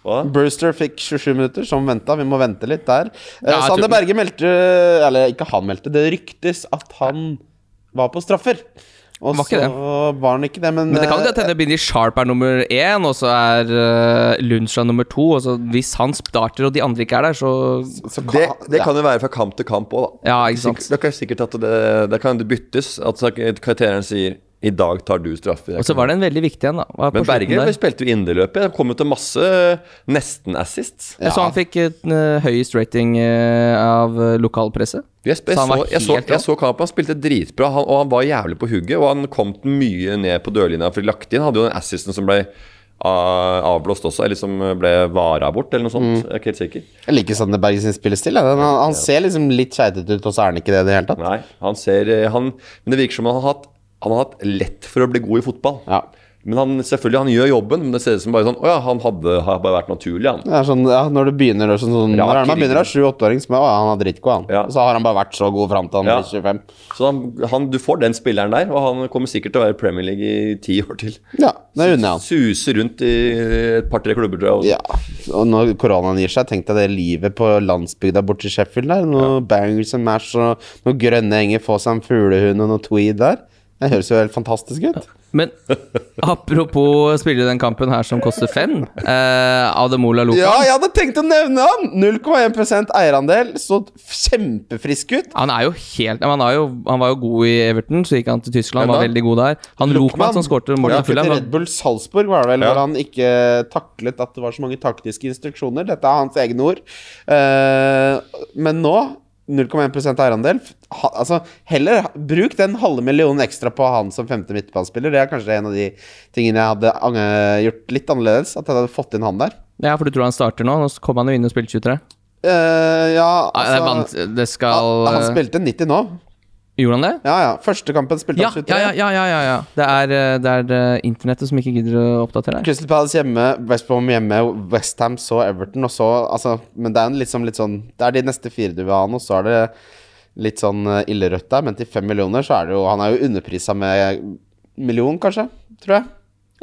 D: Hva?
C: Brewster fikk 27 minutter, som venta. Vi må vente litt der. Eh,
B: Ja, jeg
C: Sander
B: tror-
C: Berge meldte Eller ikke han meldte, det ryktes at han var på straffer. Og
B: Var ikke
C: så var han ikke det, men,
B: Men det kan
C: eh,
B: jo godt hende Bindy Sharp er nummer én, og så er uh, Lundstra nummer to. Og så hvis han starter og de andre ikke er der, så
C: så
D: Det, det
C: ja.
D: kan jo være fra kamp til kamp òg, da.
B: Ja, ikke sant.
D: Sikkert- Det er sikkert at det, det kan det byttes. At karakterene sier 'I dag tar du straffe'.
B: Og så var det en veldig viktig en, da. Var på
D: Men
B: slutten
D: Berger
B: der.
D: spilte jo inderløpet. Det kom jo til masse nesten-assists.
B: Jeg så han fikk en eh, høyest rating eh, av eh, lokalpresse.
D: Jeg, sp- jeg,
B: Så han
D: så,
B: var
D: jeg, så,
B: helt
D: jeg så kampen, han spilte dritbra, han, og han var jævlig på hugget. Og han kom mye ned på dørlinja for lagt inn. Hadde jo den assisten som ble ah, avblåst også, eller som ble vara bort, eller noe sånt. Jeg er ikke helt sikker.
C: Jeg liker Sander Berg sin spillestil. ja. Den- Han, han ser liksom litt skeitete ut, og så er han ikke det i det hele tatt.
D: Nei, han ser eh, han, Men det virker som han har hatt Han har hatt lett for å bli god i fotball.
C: Ja.
D: Men han, selvfølgelig, han gjør jobben, men det ser ut som bare sånn Å ja, han hadde, har bare vært naturlig, han.
C: Det er sånn, ja, når du begynner å sånn, sånn,
D: Rak
C: Når er det
D: i
C: man begynner å
D: ryggen.
C: ha sju-åtteåring, så er man, å, ja, han er dritgod, han.
D: Ja.
C: Og så har han bare vært så god fram til han
D: Ja.
C: blir 25.
D: Så han, han, du får den spilleren der, og han kommer sikkert til å være i Premier League i ti år til.
C: Ja, det unner jeg han.
D: Suser rundt i et par-tre klubber, tror jeg.
C: Ja, og når koronaen gir seg, tenk deg det livet på landsbygda borti Sheffield der. Noe bangers and mash og noen grønne enger, få seg en fuglehund og noe tweed der. Det høres jo helt fantastisk ut.
B: Men
C: [LAUGHS]
B: apropos spille den kampen her som koster fem, eh, Ademola Luka.
C: Ja, jeg hadde tenkt å nevne han! 0,1 eierandel. Så kjempefrisk ut.
B: Han er jo helt men han, er jo, han var jo god i Everton, så gikk han til Tyskland,
D: Hvem
B: var
D: da?
B: veldig god der. Han Lokman som skårte målet
C: Ja,
B: til Fulham.
C: til
B: var-
C: Red Bull Salzburg var det vel,
D: Ja.
C: hvor han ikke taklet at det var så mange taktiske instruksjoner. Dette er hans egne ord. Eh, men nå 0,1 eierandel. Ha, altså, heller ha- bruk den halve millionen ekstra på han som femte midtbanespiller. Det er kanskje en av de tingene jeg hadde ange- gjort litt annerledes. At jeg hadde fått inn han der.
B: Ja, for du tror han starter nå? Nå kom han jo inn og spilte 23.
C: Eh, ja,
B: Ah, det, er
C: altså
B: vant, det skal eh,
C: han, han spilte 90 nå.
B: Gjorde han det?
C: Ja, ja. Første kampen spilte
B: Ja,
C: han 23.
B: ja, ja, ja, ja, ja, ja. Det er, eh, det er eh, internettet som ikke gidder å oppdatere her.
C: Crystal Palace hjemme, West Brom hjemme, West Ham så Everton, og så altså, Men det er en liksom litt sånn Det er de neste fire du vil ha nå, så er det litt sånn eh, illerødt der, men til fem millioner så er det jo Han er jo underprisa med million, kanskje, tror jeg.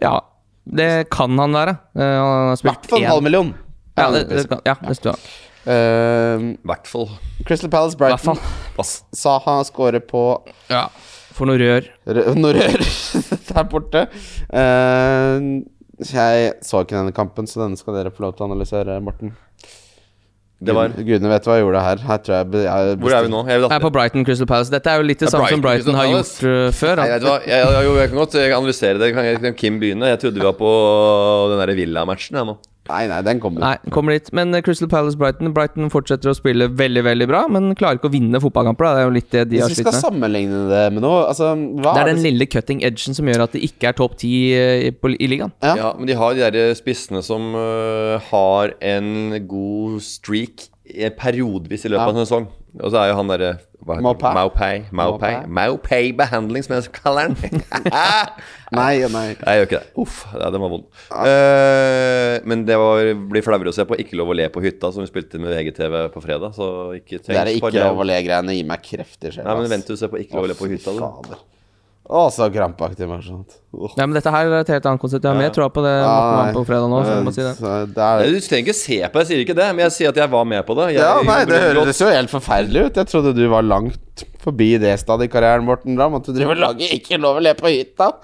B: Ja, det kan han være. Eh, han har
C: I
B: spilt
C: hvert fall en halv
B: én.
C: million.
B: Ja, det, det, kan- ja, det står han.
C: Eh,
D: I hvert fall.
C: Crystal Palace
B: I hvert
C: Brighton
B: fall.
D: Pass.
C: sa han skårer på
B: Ja. For noe rør.
C: rø- noe rør [LAUGHS] der borte. Eh, jeg så ikke denne kampen, så denne skal dere få lov til å analysere, Morten.
D: Det var
C: Gudene vet hva jeg gjorde her. her tror jeg, be- jeg
D: Hvor er vi nå? Jeg, vil
B: Jeg er på Brighton Crystal Palace. Dette er jo litt det
D: Ja,
B: samme som
D: Brighton,
B: Brighton har gjort
D: Crystal
B: eh, før.
D: Nei,
B: Da.
D: vet du hva? Jeg, jeg, jo, jeg kan godt eh, analysere det. Kan, jeg- kan Kim begynne? Jeg trodde vi var på den der Villa-matchen. jeg, nå.
C: Nei, nei, den kommer.
B: Nei, kommer dit. Men eh, Crystal Palace Brighton Brighton fortsetter å spille veldig veldig bra, men klarer ikke å vinne fotballkamper. da. Det er jo litt det de har
C: Hvis vi
B: slitt
C: skal
B: med.
C: sammenligne det med noe altså, hva
B: Det er
C: er
B: den
C: det,
B: lille cutting edgen som gjør at det ikke er topp ti i, på- i ligaen.
C: Ja.
D: Ja. men de har de der spissene som øh, har en god streak eh, periodevis i løpet av en sesong. Og så er jo han derre hva heter
C: Maupay.
D: han? Maupay. Maupay.
C: Maupay.
D: Maupay behandling, som jeg kaller den.
C: som- Nei, nei.
D: [LAUGHS] Nei, Jeg gjør ikke det. Uff, ja, den var vond. Eh, men det var, blir flauere å se på. Ikke lov å le på hytta, som vi spilte med VGTV på fredag. Så ikke
C: Det er
D: tenk på
C: ikke lov å le greiene. Gi meg kreft i sjela.
D: Nei, men
C: ass.
D: vent til du ser på Ikke lov å le på hytta. Du.
C: Fader. Å, så krampaktig med sånt. Åh.
B: Ja, men dette her er et helt annet konsept. Jeg har mer troa på det Morten
C: Ja, Ah,
B: var på fredag nå. Så jeg må si det.
C: Så det er,
D: Nei, Du trenger ikke se på det, jeg sier ikke det, men jeg sier at jeg var med på det. Jeg,
C: ja, nei, det
D: jeg-
C: høres jo helt forferdelig ut. Jeg trodde du var langt forbi det stadiet i karrieren, Morten. Da måtte du drive og lage 'Ikke lov å le på hytta'.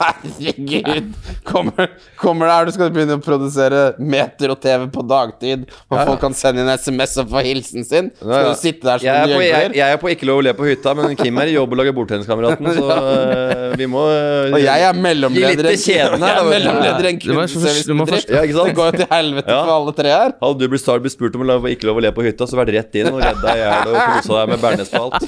C: Herregud! Kommer, kommer det her du skal begynne å produsere meter og TV på dagtid, og folk kan sende inn SMS og få hilsen sin?
D: Nei,
C: Skal
D: ja.
C: du sitte der som
D: jeg,
C: en
D: er på, jeg,
C: gjøgler?
D: jeg er på Ikke lov å le på hytta, men Kim er i jobb og lager Bordtenniskameraten, så øh, vi må øh,
C: Og jeg er
D: Gi litt
C: mellomleder
D: til kjeden her, da,
C: Jeg er
D: vet du.
C: mellomleder i en
B: Du må først- du må
C: kundeservicebedrift.
B: først-
D: Ja, ikke sant?
C: Det går jo til helvete
D: Ja.
C: for alle tre her.
D: Hadde du blitt star, blitt spurt om å la- ikke lov å le på hytta, så vært rett inn og redd deg i hjel og kosa deg med bearnés på [LAUGHS] alt.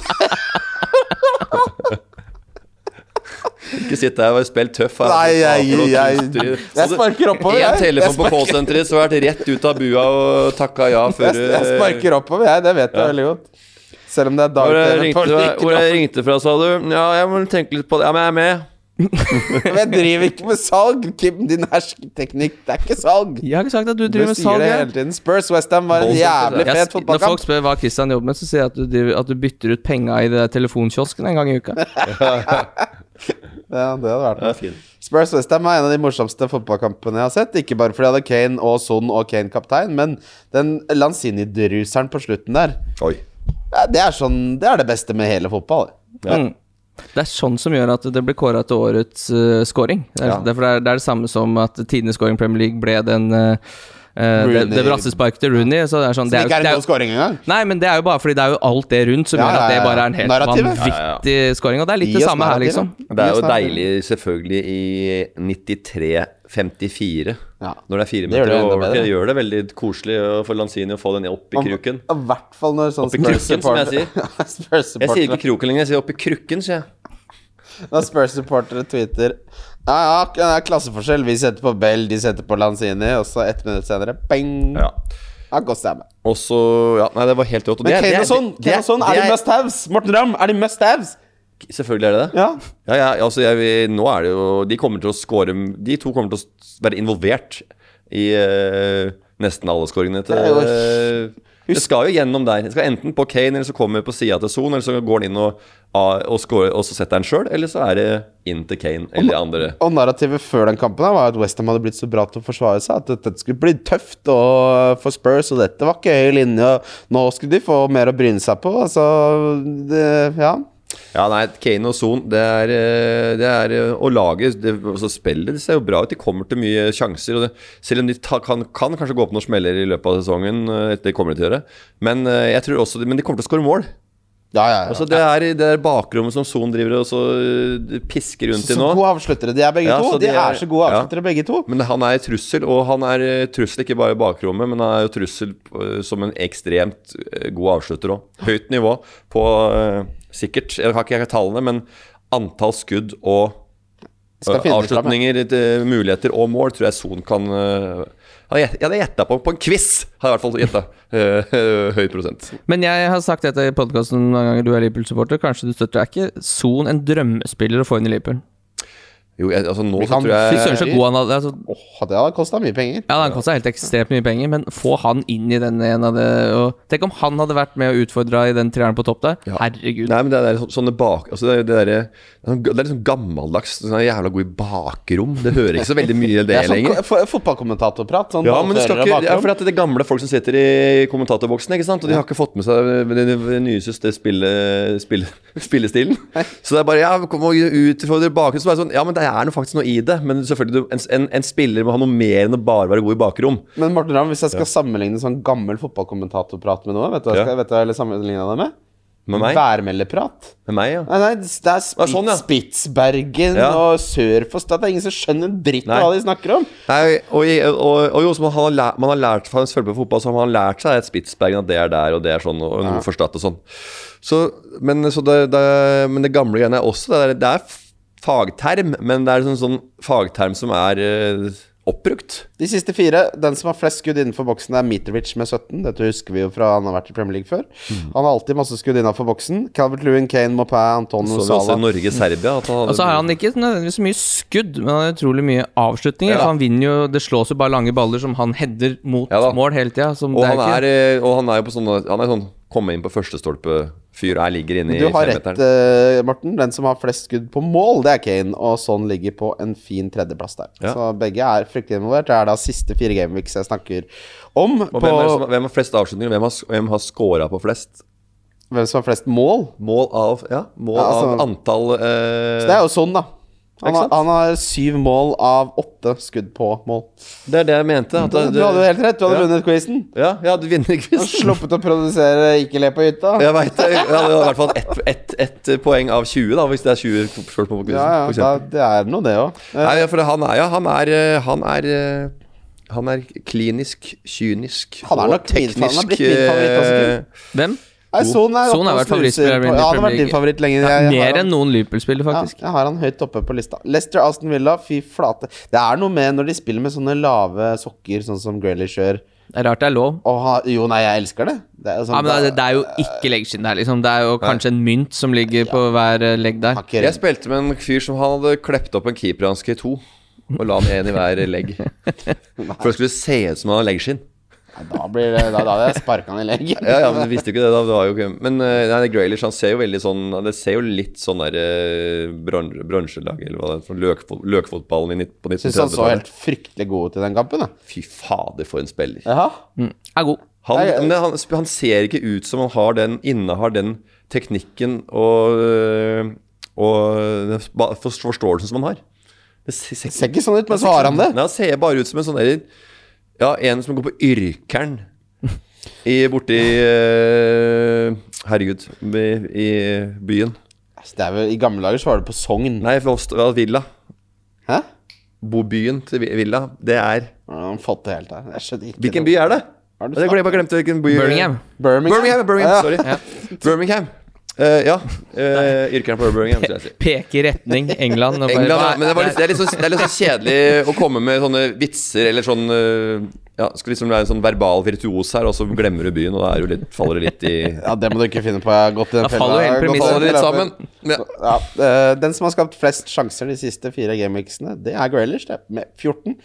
D: Ikke sitt der og være spill tøff. her.
C: Nei, jeg-
D: Faen, for noe
C: jeg-
D: kunstner.
C: jeg sparker oppover, jeg.
D: En telefon
C: Jeg
D: på
C: sparker-
D: K-senteret, så vært rett ut av bua og takka ja før eh,
C: Jeg, jeg sparker oppover, jeg. Det vet jeg veldig godt. Selv om det er
D: Hvor jeg,
C: dag-TV.
D: ringte,
C: på like
D: hvor jeg
C: lang-
D: ringte fra, sa du? Ja, jeg må tenke litt på det. Ja, men jeg er med.
C: Men [LAUGHS] jeg driver ikke med salg, Kim. Din hersketeknikk, det er ikke salg.
B: Jeg har ikke sagt at du
C: Du
B: driver med
C: sier
B: salg.
C: det
B: jeg.
C: hele tiden. Spurs Westham var en
D: Bolton,
C: jævlig
B: Jeg,
C: fet
B: s- når folk
C: fotballkamp.
B: spør hva Christian jobber med, så sier jeg at du, driver, at du bytter ut penga i det der telefonkiosken en gang i uka.
C: [LAUGHS] Ja, det hadde vært
D: Ja,
C: noe.
D: fin.
C: Spurs Westham var en av de morsomste fotballkampene jeg har sett. Ikke bare fordi jeg hadde Kane og Son og Kane kaptein, men den Lanzini-druseren på slutten der
D: Oi.
C: Ja, Det er, sånn, det er det beste med hele fotball.
D: Ja.
B: Mm. Det er sånn som gjør at det blir kåra til årets eh, scoring. Det er,
C: Ja.
B: derfor det, er, det er det samme som at tidenes scoring i Premier League ble den eh, eh, det,
C: Rooney.
B: det brassesparket til Rooney. Så det er sånn
C: Som
B: det er,
C: ikke
B: jo-
C: er
B: det
C: en
B: er,
C: god scoring engang.
B: jo- Nei, men det er jo bare fordi det er jo alt det rundt som
C: Ja,
B: gjør
C: ja,
B: at det
C: ja.
B: bare er en helt
C: Narrativet.
B: vanvittig scoring. Og det er litt
C: Gi
B: det
C: oss
B: samme her,
C: narrativet.
B: liksom.
D: Det er
C: Gi
D: jo
C: oss narrativet.
D: deilig selvfølgelig i 93-54
C: Ja.
D: når det er fire
C: Det gjør det
D: meter
C: jo enda
D: over.
C: bedre.
D: Det gjør det veldig koselig å- for Lanzini å få den opp i kruken.
C: I hvert fall når sånn
D: Opp i krukken, som
C: [LAUGHS]
D: jeg sier. Jeg sier ikke
C: Spurs-supportere
D: kroken lenger, jeg sier opp i krukken, sier jeg.
C: Når Spurs-supportere tweeter Ja, ja, det er klasseforskjell. Vi setter på Bell, de setter på Lanzini, og så ett minutt senere bang!
D: Ja.
C: Ja, godt stemme.
D: Og så Ja, nei, det var helt rått. Og
C: Men
D: det er- det
C: Kane
D: er-
C: og sånn,
D: det
C: Kane og sånn, er
D: det
C: de must haves? Morten Ramm, er de must haves?
D: Selvfølgelig er det det.
C: Ja.
D: Ja, ja, altså jeg, vil- nå er det jo De kommer til å score De to kommer til å s- være involvert i eh, nesten alle scoringene til
C: Det er jo-
D: eh, Det skal jo gjennom der. Det skal enten på Kane, eller så kommer det på sida til Son, eller så går han inn og, ah, og, scorer, og så setter han sjøl, eller så er det inn til Kane eller andre.
C: Og narrativet før den kampen her var at Westham hadde blitt så bra til å forsvare seg at dette skulle bli tøft og for Spurs, og dette var ikke høy linje, og nå skulle de få mer å bryne seg på. Altså, det, ja.
D: Ja, nei, Kane og Son, det er, eh, det er eh, Og laget, det, altså spillet, det ser jo bra ut. De kommer til mye sjanser. Og det, selv om de ta, kan, kan kanskje gå på noen smeller i løpet av sesongen, eh, det kommer de til å gjøre, men, eh, jeg tror også, men de kommer til å skåre mål.
C: Ja, ja, ja.
D: Altså, det er det er bakrommet som Son driver og så eh, pisker rundt
C: Så
D: i nå.
C: gode avsluttere de er, begge
D: Ja,
C: to.
D: så
C: De
D: de
C: er,
D: er-
C: så gode
D: ja.
C: avsluttere, begge to.
D: Men han er trussel, og han er eh, trussel ikke bare i bakrommet, men han er jo trussel eh, som en ekstremt eh, god avslutter òg. Høyt nivå på eh, sikkert Jeg har ikke tallene, men antall skudd og
C: Skal
D: eh,
C: finne det fram,
D: avslutninger, eh, muligheter og mål tror jeg Son kan eh, Jeg jeg hadde gjetta på, på en quiz! Har jeg i hvert fall gjetta. eh, [LAUGHS] høy prosent.
B: Men jeg har sagt dette i podkasten noen ganger, du er Liverpool-supporter. Kanskje du støtter Er ikke Son en drømmespiller å få inn i Liverpool?
D: Jo, jeg, altså nå
C: Vi
D: så
C: kan
D: tror
B: Fy
D: jeg
B: søren
C: Eh,
B: så god han hadde altså,
C: Åh, det hadde kosta mye penger.
B: Ja, han kosta helt ekstremt mye penger, men få han inn i den ene av det og Tenk om han hadde vært med og utfordra i den treeren på topp der. Herregud.
D: Nei, men det er så- sånne bak... Altså det, er- det, er, det, er, det er liksom gammeldags. Sånn jævla god i bakrom. Det hører ikke så veldig mye
C: [LAUGHS]
D: til
C: Det
D: det
C: er
D: lenger.
C: sånn ko- fotballkommentatorprat. Sånn
D: Ja, men du skal
C: ballfører
D: ikke,
C: og
D: ja,
C: bakrom.
D: for at det er gamle folk som sitter i kommentatorboksen, ikke sant? og de har ikke fått med seg det, det, det nye syste- spille, spille, [LAUGHS] spillestilen. Så det er bare ja, kom og utfordre bakgrunn. Så er det sånn, ja, men det er noe faktisk noe i det. Men selvfølgelig, du- en, en, en spiller må ha noe mer enn å bare være god i bakrom.
C: Men Morten Ramm, hvis jeg skal sammenligne sånn gammel fotballkommentatorprat med noe, vet du hva jeg,
D: Ja.
C: skal, vet du hva jeg ville sammenligna det med?
D: Med meg?
C: Værmeldeprat.
D: Med meg, ja.
C: Nei, nei, det er Spitz,
D: Ja, sånn, ja.
C: Spitsbergen
D: Ja.
C: og Sørfoss Det er ingen som skjønner en dritt av
D: Nei.
C: hva de snakker om.
D: Nei, og, i- og, og jo, som han har lært, man har lært fra en sølvbø på fotball, så har man lært seg et Spitsbergen at det er der, og det er sånn, og en god forstått og sånn. Så, men, så det, det, men det gamle greiene er også, det er, det er fagterm, men det er sånn, sånn fagterm som er eh, oppbrukt.
C: De siste fire, den som har flest skudd innenfor boksen, er Mitrovic med 17. Dette husker vi jo fra han har vært i Premier League før.
D: Mm.
C: Han har alltid masse skudd innenfor boksen. Calvert Lewin, Kane, Mopin, Antonio
D: Så vi også i
C: Sala.
D: Norge-Serbia.
B: [LAUGHS] Og så har han ikke nødvendigvis så mye skudd, men han har utrolig mye avslutninger.
D: Ja.
B: For han vinner jo Det slås jo bare lange baller som han header mot
D: Ja da.
B: mål hele tida. Som
D: og,
B: det er
D: han
B: jo
D: er,
B: ikke
D: eh, og han er jo på sånn, han er sånn, komme inn på første stolpe fyr, her ligger inne i
C: Du har rett,
D: femmeteren.
C: eh, Morten. Den som har flest skudd på mål, det er Kane. Og sånn ligger på en fin tredjeplass der.
D: Ja.
C: Så begge er fryktelig involvert. Det er da siste fire gameweeks jeg snakker om.
D: Og
C: på
D: hvem, er, det som- hvem har flest avslutninger, hvem har, hvem har scora på flest?
C: hvem som har flest mål.
D: Mål av, ja, mål
C: Ja, altså-
D: av antall eh,
C: Så det er jo sånn, da. Han
D: Ikke
C: har,
D: sant?
C: han har syv mål av åtte skudd på mål.
D: Det er det jeg mente. At
C: Du
D: det,
C: hadde jo helt rett. Du hadde
D: Ja.
C: vunnet quizen.
D: ja, ja, du vinner ikke hvis
C: Sluppet å produsere Ikke le på hytta.
D: Jeg veit det. Jeg hadde i hvert fall ett ett- ett poeng av 20, da, hvis det er 20 spørsmål på quizen.
C: Ja, ja,
D: for
C: da,
D: eksempel.
C: det er noe, det Eh, òg.
D: Nei, ja, for han er ja, han er, eh, han er eh, han er klinisk, kynisk
C: Han er
D: og
C: nok min favoritt. Han har blitt min
D: eh,
C: favoritt også,
B: Hvem?
C: Son er oppe
B: Son har
C: og
B: vært favorittspiller
C: snuser
B: i
C: på- Ja, han har
B: Premier
C: vært din
B: League.
C: favoritt lenge. Jeg-
B: Ja,
C: jeg har
B: Mer
C: han-
B: enn noen Liverpool-spiller, faktisk.
C: Ja, jeg har han høyt oppe på lista. Lester Aston Villa, fy flate. Det er noe med når de spiller med sånne lave sokker, sånn som Grealish gjør.
B: Det er rart det er lov.
C: Og ha, jo, nei, jeg elsker det. det er sånn,
B: Ja, men det,
C: da-
B: er- det er jo ikke leggskinn der, liksom. Det er jo kanskje en mynt som ligger på hver eh, legg der.
C: har ikke
D: Jeg
C: redd.
D: spilte med en fyr som han hadde klept opp en keeper hans i to. Og la han én i hver legg.
C: [LAUGHS]
D: For det skulle se ut som han hadde leggskinn.
C: Nei, Da, blir det, da, da hadde jeg sparka han i leggen.
D: Ja, ja, men du visste jo ikke det. da det var jo ikke, Men eh, nei, Graylish han ser jo veldig sånn Det ser jo litt sånn der eh, bron bronselag eller hva det er. sånn Løkfo løkfotballen i nitt- på
C: Syns han så
D: 1930-tallet.
C: helt fryktelig god ut i den kampen. Da.
D: Fy fader, for en spiller.
C: Jaha.
B: Er god.
D: Han,
C: Nei, jeg-
D: men han, sp- han ser ikke ut som han har den innehar den teknikken og øh, og den ba- for- forståelsen som han har. Det ser, ser,
C: Ser ikke sånn ut, men så har han det.
D: Nei, han ser bare ut som en sånn der, Ja, en som går på Yrkeren. I, borti eh, Herregud, i, i byen.
C: Altså, det er vel, I gamle dager så var det på Sogn.
D: Nei, for oss, ja, Villa.
C: Hæ?
D: Bobyen til Vi- Villa. Det er
C: Hvordan har han fått det helt der? Jeg skjønner ikke
D: Hvilken
C: noe.
D: by er det?
C: Har du
D: Jeg glemte, jeg glemte hvilken by
B: Birmingham.
C: Birmingham.
D: Birmingham, Birmingham
C: Ja.
D: sorry. Birmingham. Eh, ja. Uh, Yrkeren på Birmingham. skulle jeg si.
B: Peke retning England. og bare-
D: England, ja,
B: hva er-
D: men det, var litt, det, er litt så, det er litt så kjedelig å komme med sånne vitser eller sånn eh, Ja, skal liksom være en sånn verbal virtuos her, og så glemmer du byen, og da er du litt, faller du litt i
C: Ja, det må du ikke finne på. Jeg har gått i den
B: Da faller jo
C: Jeg har gått i
B: hele
C: den
B: premissen
D: Faller litt
C: fella
D: sammen.
C: før.
D: Ja.
C: Ja, eh, den som har skapt flest sjanser de siste fire gameweeksene, det er Grealish, det, med 14.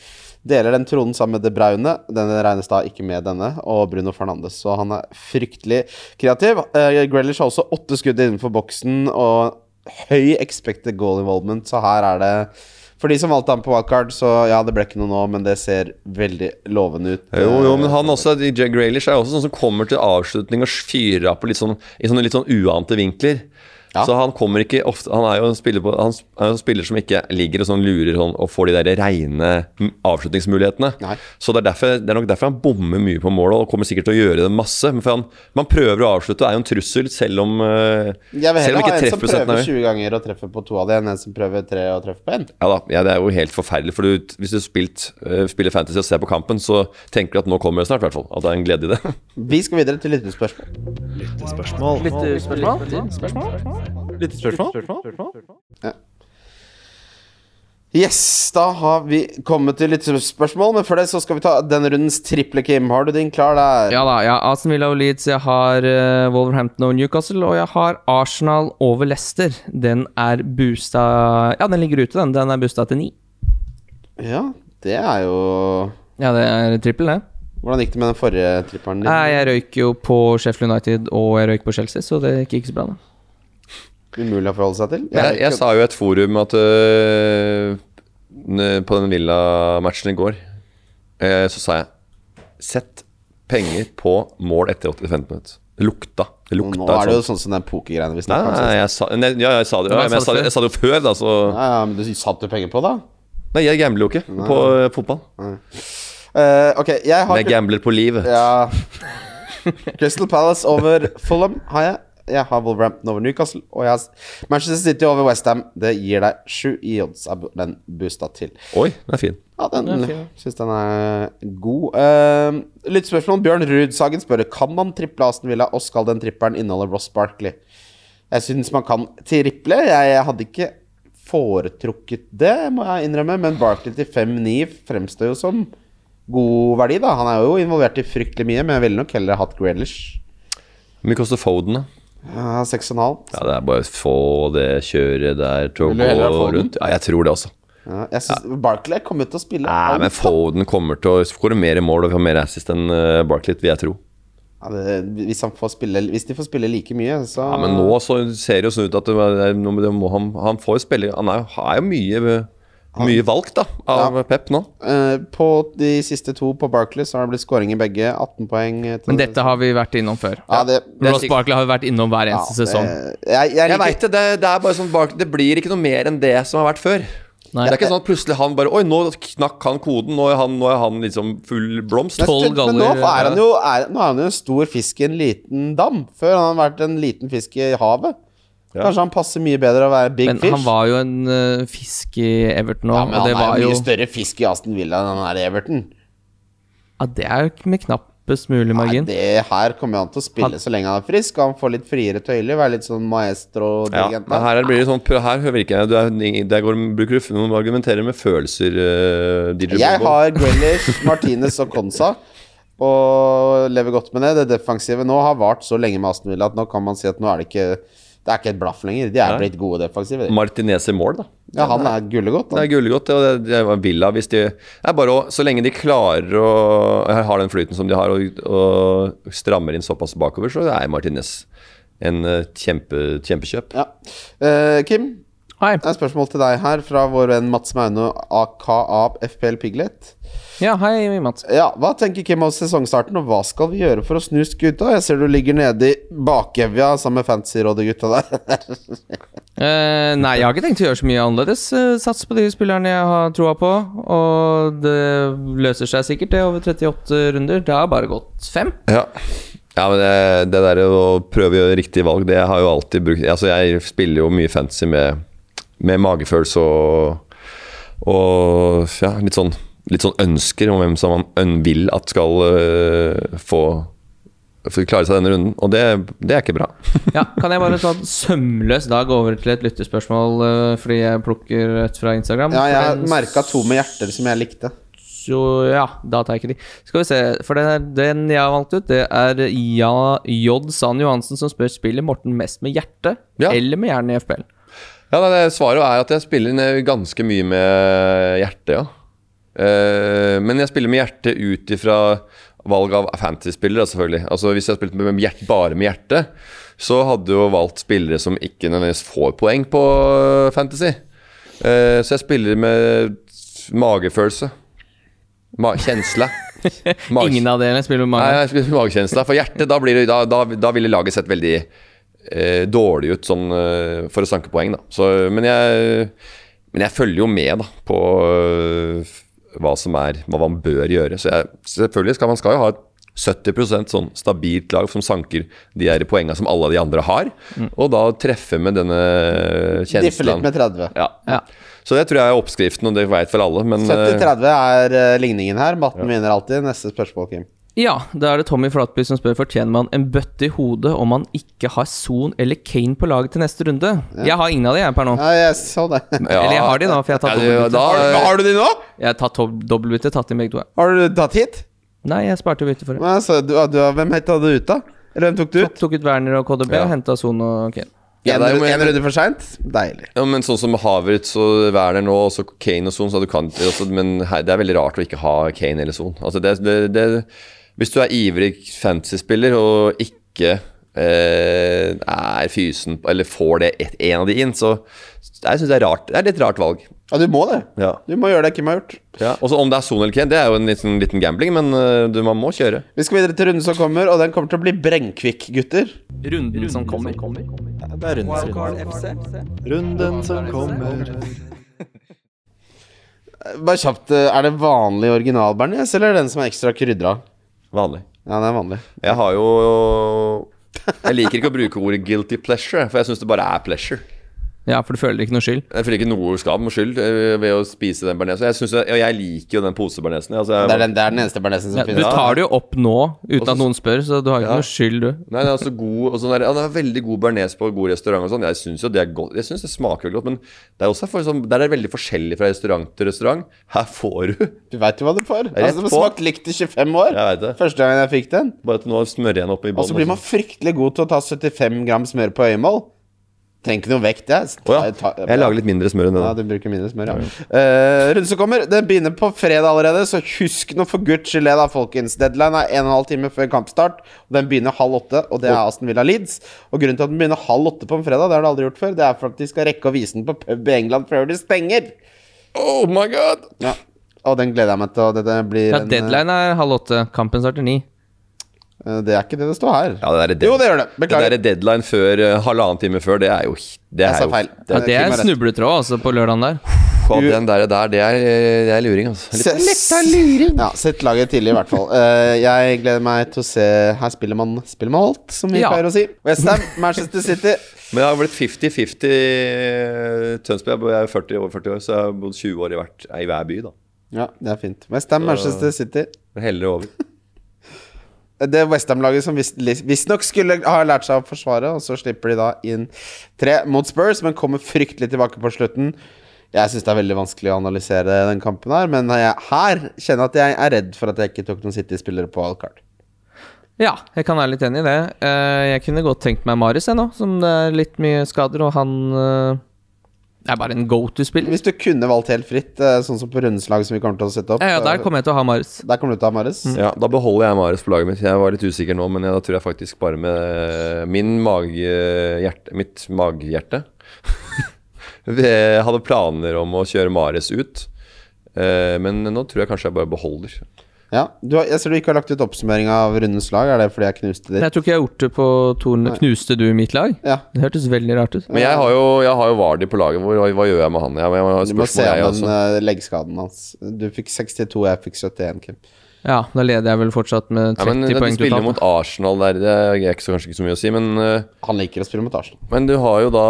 C: Deler den tronen sammen med De Braune. Denne regnes da ikke med denne, og Bruno Fernandes. Så han er fryktelig kreativ. Eh, Grealish har også åtte skudd innenfor boksen og høy expected goal involvement, så her er det for de som valgte ham på wildcard, så ja, det ble ikke noe nå, men det ser veldig lovende ut.
D: Jo, jo,
C: Eh,
D: men han også, DJ Graylish er jo også sånn som kommer til avslutning og fyrer av på litt sånn, i sånne litt sånn uante vinkler.
C: Ja.
D: Så han kommer ikke ofte Han er jo en spiller, på, han er jo en spiller som ikke ligger og sånn lurer sånn, og får de der reine m- avslutningsmulighetene.
C: Nei.
D: Så det er, derfor, det er nok derfor han bommer mye på målet og kommer sikkert til å gjøre det masse. Men for han, man prøver å avslutte og er jo en trussel, selv om eh,
C: Jeg vil
D: Selv
C: heller
D: om
C: ha
D: ikke
C: en som
D: treffprosenten
C: prøver
D: er høy.
C: 20 ganger og treffer på to av de, enn en som prøver tre og treffer på én.
D: Ja da, ja, det er jo helt forferdelig. For du, hvis du spilt, eh, spiller fantasy og ser på kampen, så tenker du at nå kommer det snart, i hvert fall. At det er en glede i det. [LAUGHS]
C: Vi skal videre til lyttespørsmål. Yes, da har vi kommet til lyttespørsmål, men før det så skal vi ta denne rundens triple, Kim. Har du din klar der?
B: Ja da, jeg har Aston Villa og Leeds, jeg har eh, Wolverhampton og Newcastle, og jeg har Arsenal over Leicester. Den er boosta Ja, den ligger ute, den. Den er boosta til ni.
C: Ja, det er jo
B: Ja, det er trippel, det.
C: Hvordan gikk det med den forrige tripperen din?
B: Nei, jeg røyk jo på Sheffield United og jeg røyk på Chelsea, så det gikk ikke så bra, da.
C: Umulig å forholde seg til?
D: Jeg, jeg sa jo i et forum at øh, n- på den Villa-matchen i går, eh, så sa jeg Sett penger på mål etter 85 minutter. Det lukta. Det lukta
C: Nå er det jo
D: et sånt.
C: sånn som den pokergreiene vi
D: Nei,
C: snakker om.
D: nei,
C: sist.
D: jeg sa, nei, ja, jeg sa det jo,
B: Nei,
D: ja, men jeg sa det, jeg sa det jo før, da, så
C: Ja, ja, men du satte jo penger på, da?
D: Nei, jeg gambler jo ikke på eh, fotball.
C: Eh, ok, jeg har
D: Men jeg gambler på livet.
C: Ja Crystal Palace over Fulham har jeg. Jeg har Wolverhampton over Newcastle. Og jeg har Manchester City over Westham. Det gir deg sju i odds. Er den boosta til.
D: Oi, den er fin.
C: Ja, den syns den er god. Uh, Lyttespørsmål. Bjørn Rudsagen spør Kan man triple Aston Villa, og skal den trippelen inneholde Ross Barkley? Jeg syns man kan triple. Jeg hadde ikke foretrukket det, må jeg innrømme, men Barkley til 5-9 fremstår jo som god verdi, da. Han er jo involvert i fryktelig mye, men jeg ville nok heller hatt Grealish.
D: Hvor mye koster Foden, da?
C: Ja, 6,5.
D: Ja, det er bare å få det kjøret der til å
C: Vil du heller ha
D: gå
C: Foden?
D: rundt. Ja, jeg tror det også.
C: Ja, jeg synes Barkley kommer til å spille
D: Nei,
C: alt.
D: men Foden kommer til å skåre mer i mål og få mer assist enn eh, Barkley, vil jeg tro.
C: Ja, det, hvis, han får spille, hvis de får spille like mye, så
D: Ja, men nå så ser det jo sånn ut at det, er- nå må- det må, han, han får jo spille Han er, jo- er jo mye, mye valgt da, av Pep nå.
C: Eh, på de siste to på Barclays så har det blitt scoring i begge. 18 poeng. eh, til-
B: Men dette har vi vært innom før.
C: ja, det,
B: Ross Barkley har jo vært innom hver
C: ja,
B: eneste sesong.
C: det- Eh, Jeg, jeg,
D: Jeg
C: liker-
D: veit det, det, det er bare sånn Barkley- Det blir ikke noe mer enn det som har vært før.
B: Nei.
D: Det er ikke sånn at plutselig han bare Oi, nå knakk han koden, nå er han, nå er han liksom full blomst.
C: Men
B: Tolv eh,
C: stund- Men nå
B: galler,
C: er han jo er, Nå er han jo en stor fisk i en liten dam. Før har han vært en liten fisk i havet. Kanskje han passer mye bedre å være big
B: Men
C: fish.
B: han var jo en eh, fisk i Everton òg,
C: ja, men
B: og det
C: han
B: var
C: er jo
B: jo
C: mye større fisk i Aston Villa enn han er i Everton.
B: Ja, det er jo ikke med knappest mulig
C: Nei,
B: margin.
C: det her kommer han til å spille så lenge han er frisk, og han får litt friere tøyler. Være litt sånn
D: Ja,
C: maestro-dirigent.
D: men her er det blir det sånn pr- Her hører ikke jeg du er, Der går, bruker du Nå argumenterer med følelser, eh, DJ
C: Jeg
D: Bobo.
C: har Grealish, Martinez og Konsa. Og lever godt med det. Det defensive nå har vart så lenge med Aston Villa at nå kan man si at nå er det ikke Det er ikke et blaff lenger. De er
D: Nei.
C: blitt gode defensive. de.
D: Martinez i mål, da.
C: Ja, han er gullegodt.
D: Det
C: han.
D: er gullegodt. Og det, det er Villa, hvis de det er bare å, Så lenge de klarer å har den flyten som de har, og, og strammer inn såpass bakover, så er Martinez en eh, kjempe, kjempekjøp.
C: Ja. Eh, Kim,
B: Hei.
C: det er et spørsmål til deg her fra vår venn Mats Maune, aka FPL Piglet.
B: Ja, hei, Mats.
C: Ja, Hva tenker Kim om sesongstarten, og hva skal vi gjøre for å snu skuta? Jeg ser du ligger nede i bakevja sammen med fantasyrådet-gutta der.
B: Eh, nei, jeg har ikke tenkt å gjøre så mye annerledes. Eh, Sats på de spillerne jeg har troa på. Og det løser seg sikkert, det, over 38 runder. Det har bare gått fem.
D: Ja. ja, men det, det der å prøve å gjøre riktig valg, det har jeg jo alltid brukt Altså, jeg spiller jo mye fantasy med, med magefølelse og, og ja, litt sånn, litt sånn ønsker om hvem som man øn- vil at skal øh, få, få klare seg denne runden. Og det, det er ikke bra.
B: Ja, Kan jeg bare ta en sømløs dag over til et lyttespørsmål eh, fordi jeg plukker et fra Instagram?
C: Ja, jeg
B: For den
C: merka to med hjerter som jeg likte.
B: Så ja, da tar jeg ikke de. Skal vi se, for den, er, den jeg har valgt ut, det er ja, J. San Johansen som spør spiller Morten mest med hjertet
D: Ja.
B: eller med hjernen i FPL.
D: Ja, nei, det Svaret er at jeg spiller ned ganske mye med hjertet, ja. Eh, men jeg spiller med hjertet ut ifra valg av fantasy-spillere, selvfølgelig. Altså Hvis jeg spilte med med hjert, bare med hjertet, så hadde jeg jo valgt spillere som ikke nødvendigvis får poeng på eh, fantasy. Eh, så jeg spiller med magefølelse. Ma kjensle. Mage-
B: Ingen av delene spiller med
D: Nei,
B: mange.
D: jeg spiller magekjensla. For hjertet, da, blir det, da, da, da ville laget sett veldig eh, dårlig ut sånn, eh, for å sanke poeng, da. Så, men, jeg, men jeg følger jo med da, på eh, hva som er Hva man bør gjøre. Så jeg, selvfølgelig skal man skal jo ha et 70 sånn stabilt lag som sanker de her poengene som alle de andre har,
B: Mm.
D: og da treffe med denne
C: Diffe litt
D: kjenslen.
C: med 30.
D: Ja.
B: Ja.
D: Så det tror jeg er oppskriften, og det veit vel alle, men eh,
C: 70-30 er eh, ligningen her. Matten vinner alltid. Neste spørsmål, Kim.
B: Ja, da er det Tommy Flatby som spør Fortjener man en bøtte i hodet om man ikke har Son eller Kane på laget til neste runde. Jeg har ingen av de, jeg, per nå.
C: Ja, jeg så det.
D: ja.
B: Eller jeg har de nå, for jeg har tatt
D: Ja,
B: dobbeltbytte.
D: da-
C: du de nå?
B: Jeg har tatt dob- dobbeltbytte, tatt inn begge to. jeg.
C: Eh, Har du tatt hit?
B: Nei, jeg sparte bytte for det.
C: Ja, så du, du, hvem het du ut, da? Eller hvem tok du ut?
B: Tok ut Werner og KDB,
D: Ja.
B: hentet henta Son og Kane.
D: Ja,
C: En
D: det er jo-
C: ru- en runde for seint? Deilig.
D: Ja, men sånn som Havertz og Werner nå, og så Kane og Son, så du kan altså, Men her, det er veldig rart å ikke ha Kane eller Son. Altså, det, det, det, hvis du er ivrig fantasy-spiller og ikke eh, er fysen på- eller får det et, en av de inn, så jeg synes det er rart. Det er litt rart valg.
C: Ja, du må det.
D: Ja.
C: Du må gjøre det Kim har gjort.
D: Ja. Også om det er Son eller Kane, det er jo en liten, liten gambling, men eh, du, man må kjøre.
C: Vi skal videre til runden som kommer, og den kommer til å bli brennkvikk, gutter.
B: Runden som kommer.
E: Det er runden,
A: Wildcard FC.
E: runden som kommer.
C: Bare kjapt, eh, er det vanlig originalbearnés, eller er det den som er ekstra krydra?
D: Vanlig.
C: Ja, den er vanlig.
D: Jeg har jo Jeg liker ikke å bruke ordet 'guilty pleasure', for jeg syns det bare er pleasure.
B: Ja, for du føler ikke noe skyld?
D: Jeg føler ikke noe skam og skyld eh, ved å spise den bearnésen. Jeg, synes- og jeg liker jo den posebernesen. Altså jeg-
C: Det er den, det er den eneste bearnésen som
B: Ja, du
C: finnes.
B: tar det jo opp nå uten
D: Også-
B: at noen spør, så du har ikke noe skyld, du.
D: Nei, den er også god og sånn der, ja, den er veldig god bearnés på god restaurant. og sånn Jeg syns jo det er godt. Jeg synes det smaker jo godt, men det er også for, sånn, der er det veldig forskjellig fra restaurant til restaurant. Her får du
C: Du veit jo hva du får.
D: Rett
C: Altså, den
D: på.
C: smakte likt i 25 år.
D: Jeg vet det.
C: Første gangen jeg fikk den.
D: Bare at nå smører jeg den opp i bånn.
C: Og så blir man fryktelig god til å ta 75 gram smør på øyemål. Trenger ikke noe vekt, jeg.
D: Å ja. Jeg lager litt mindre smør enn
C: Ja,
D: den.
C: du bruker mindre smør, ja. Eh, Runden som kommer, det begynner på fredag allerede, så husk nå for guds skyld det, da, folkens. Deadline er en og en halv time før kampstart, og den begynner halv åtte, og det er Aston Villa Leeds. Og grunnen til at den begynner halv åtte på en fredag, det har den aldri gjort før, det er for at de skal rekke å vise den på pub i England før de stenger.
D: Oh my god!
C: Ja. Og den gleder jeg meg til, og det, det blir
B: Ja,
C: en, eh,
B: deadline er halv åtte. Kampen starter ni.
C: eh, Det er ikke det det står her.
D: Ja, det der er
C: Jo, det gjør det. Beklager.
D: Det der er deadline før eh, halvannen time før, det er jo Det
C: Jeg
D: er
C: sa
D: jo
C: feil.
D: Det,
B: Ja, det er
C: Kim har rett.
B: snubletråd altså på lørdagen der.
D: faen, den der, der det, er, eh, det er luring, altså. Litt-
C: Se- Ja, sett laget tidlig, i hvert fall. Eh, jeg gleder meg til å se Her spiller man Spiller man alt, som vi
B: Ja.
C: pleier å si. Westham, Manchester City.
D: Men jeg har blitt 50-50 eh, Tønsberg. Jeg er 40, over 40 år, så jeg har bodd 20 år i, hvert, i hver by. da
C: Ja, det er fint. Westham, Manchester City.
D: Jeg Heller over.
C: Det Westham-laget som visst- visstnok skulle ha lært seg å forsvare, og så slipper de da inn tre mot Spurs, men kommer fryktelig tilbake på slutten. Jeg syns det er veldig vanskelig å analysere den kampen her, men jeg, her kjenner jeg at jeg er redd for at jeg ikke tok noen City-spillere på wildcard.
B: Ja, jeg kan være litt enig i det. Eh, Jeg kunne godt tenkt meg Marius, jeg nå, som det er litt mye skader, og han eh, er bare en go to-spiller.
C: Hvis du kunne valgt helt fritt, eh, sånn som på rundeslag som vi kommer til å sette opp
B: Ja, ja, der
C: eh,
B: kommer jeg til å ha Marius.
C: der kommer du til å ha Marius.
D: [LAUGHS] Ja, Da beholder jeg Marius på laget mitt. Jeg var litt usikker nå, men jeg, da tror jeg faktisk bare med eh, min magehjerte, mitt [LAUGHS] magehjerte Jeg eh, hadde planer om å kjøre Marius ut, eh, men nå tror jeg kanskje jeg bare beholder.
C: Ja, du har, Jeg ser du ikke har lagt ut oppsummering av rundens lag. Er det fordi jeg knuste ditt?
B: Jeg tror ikke jeg har gjort det på tornet. Knuste du mitt lag?
C: Ja.
B: Det hørtes veldig rart ut.
D: Men jeg har jo, jeg har jo Vardy på laget. Hvor, hva gjør jeg med han? Jeg, jeg, jeg,
C: Du må se
D: jeg
C: an
D: også.
C: den eh, leggskaden hans. Du fikk 62, jeg fikk 71, Kim.
B: Ja, da leder jeg vel fortsatt med
D: Ja,
B: 30
D: men De
B: poeng
D: spiller mot
B: totalt.
D: Arsenal der, det er ikke så, kanskje ikke så mye å si. Men, eh,
C: Han liker å spille mot Arsenal.
D: men du har jo da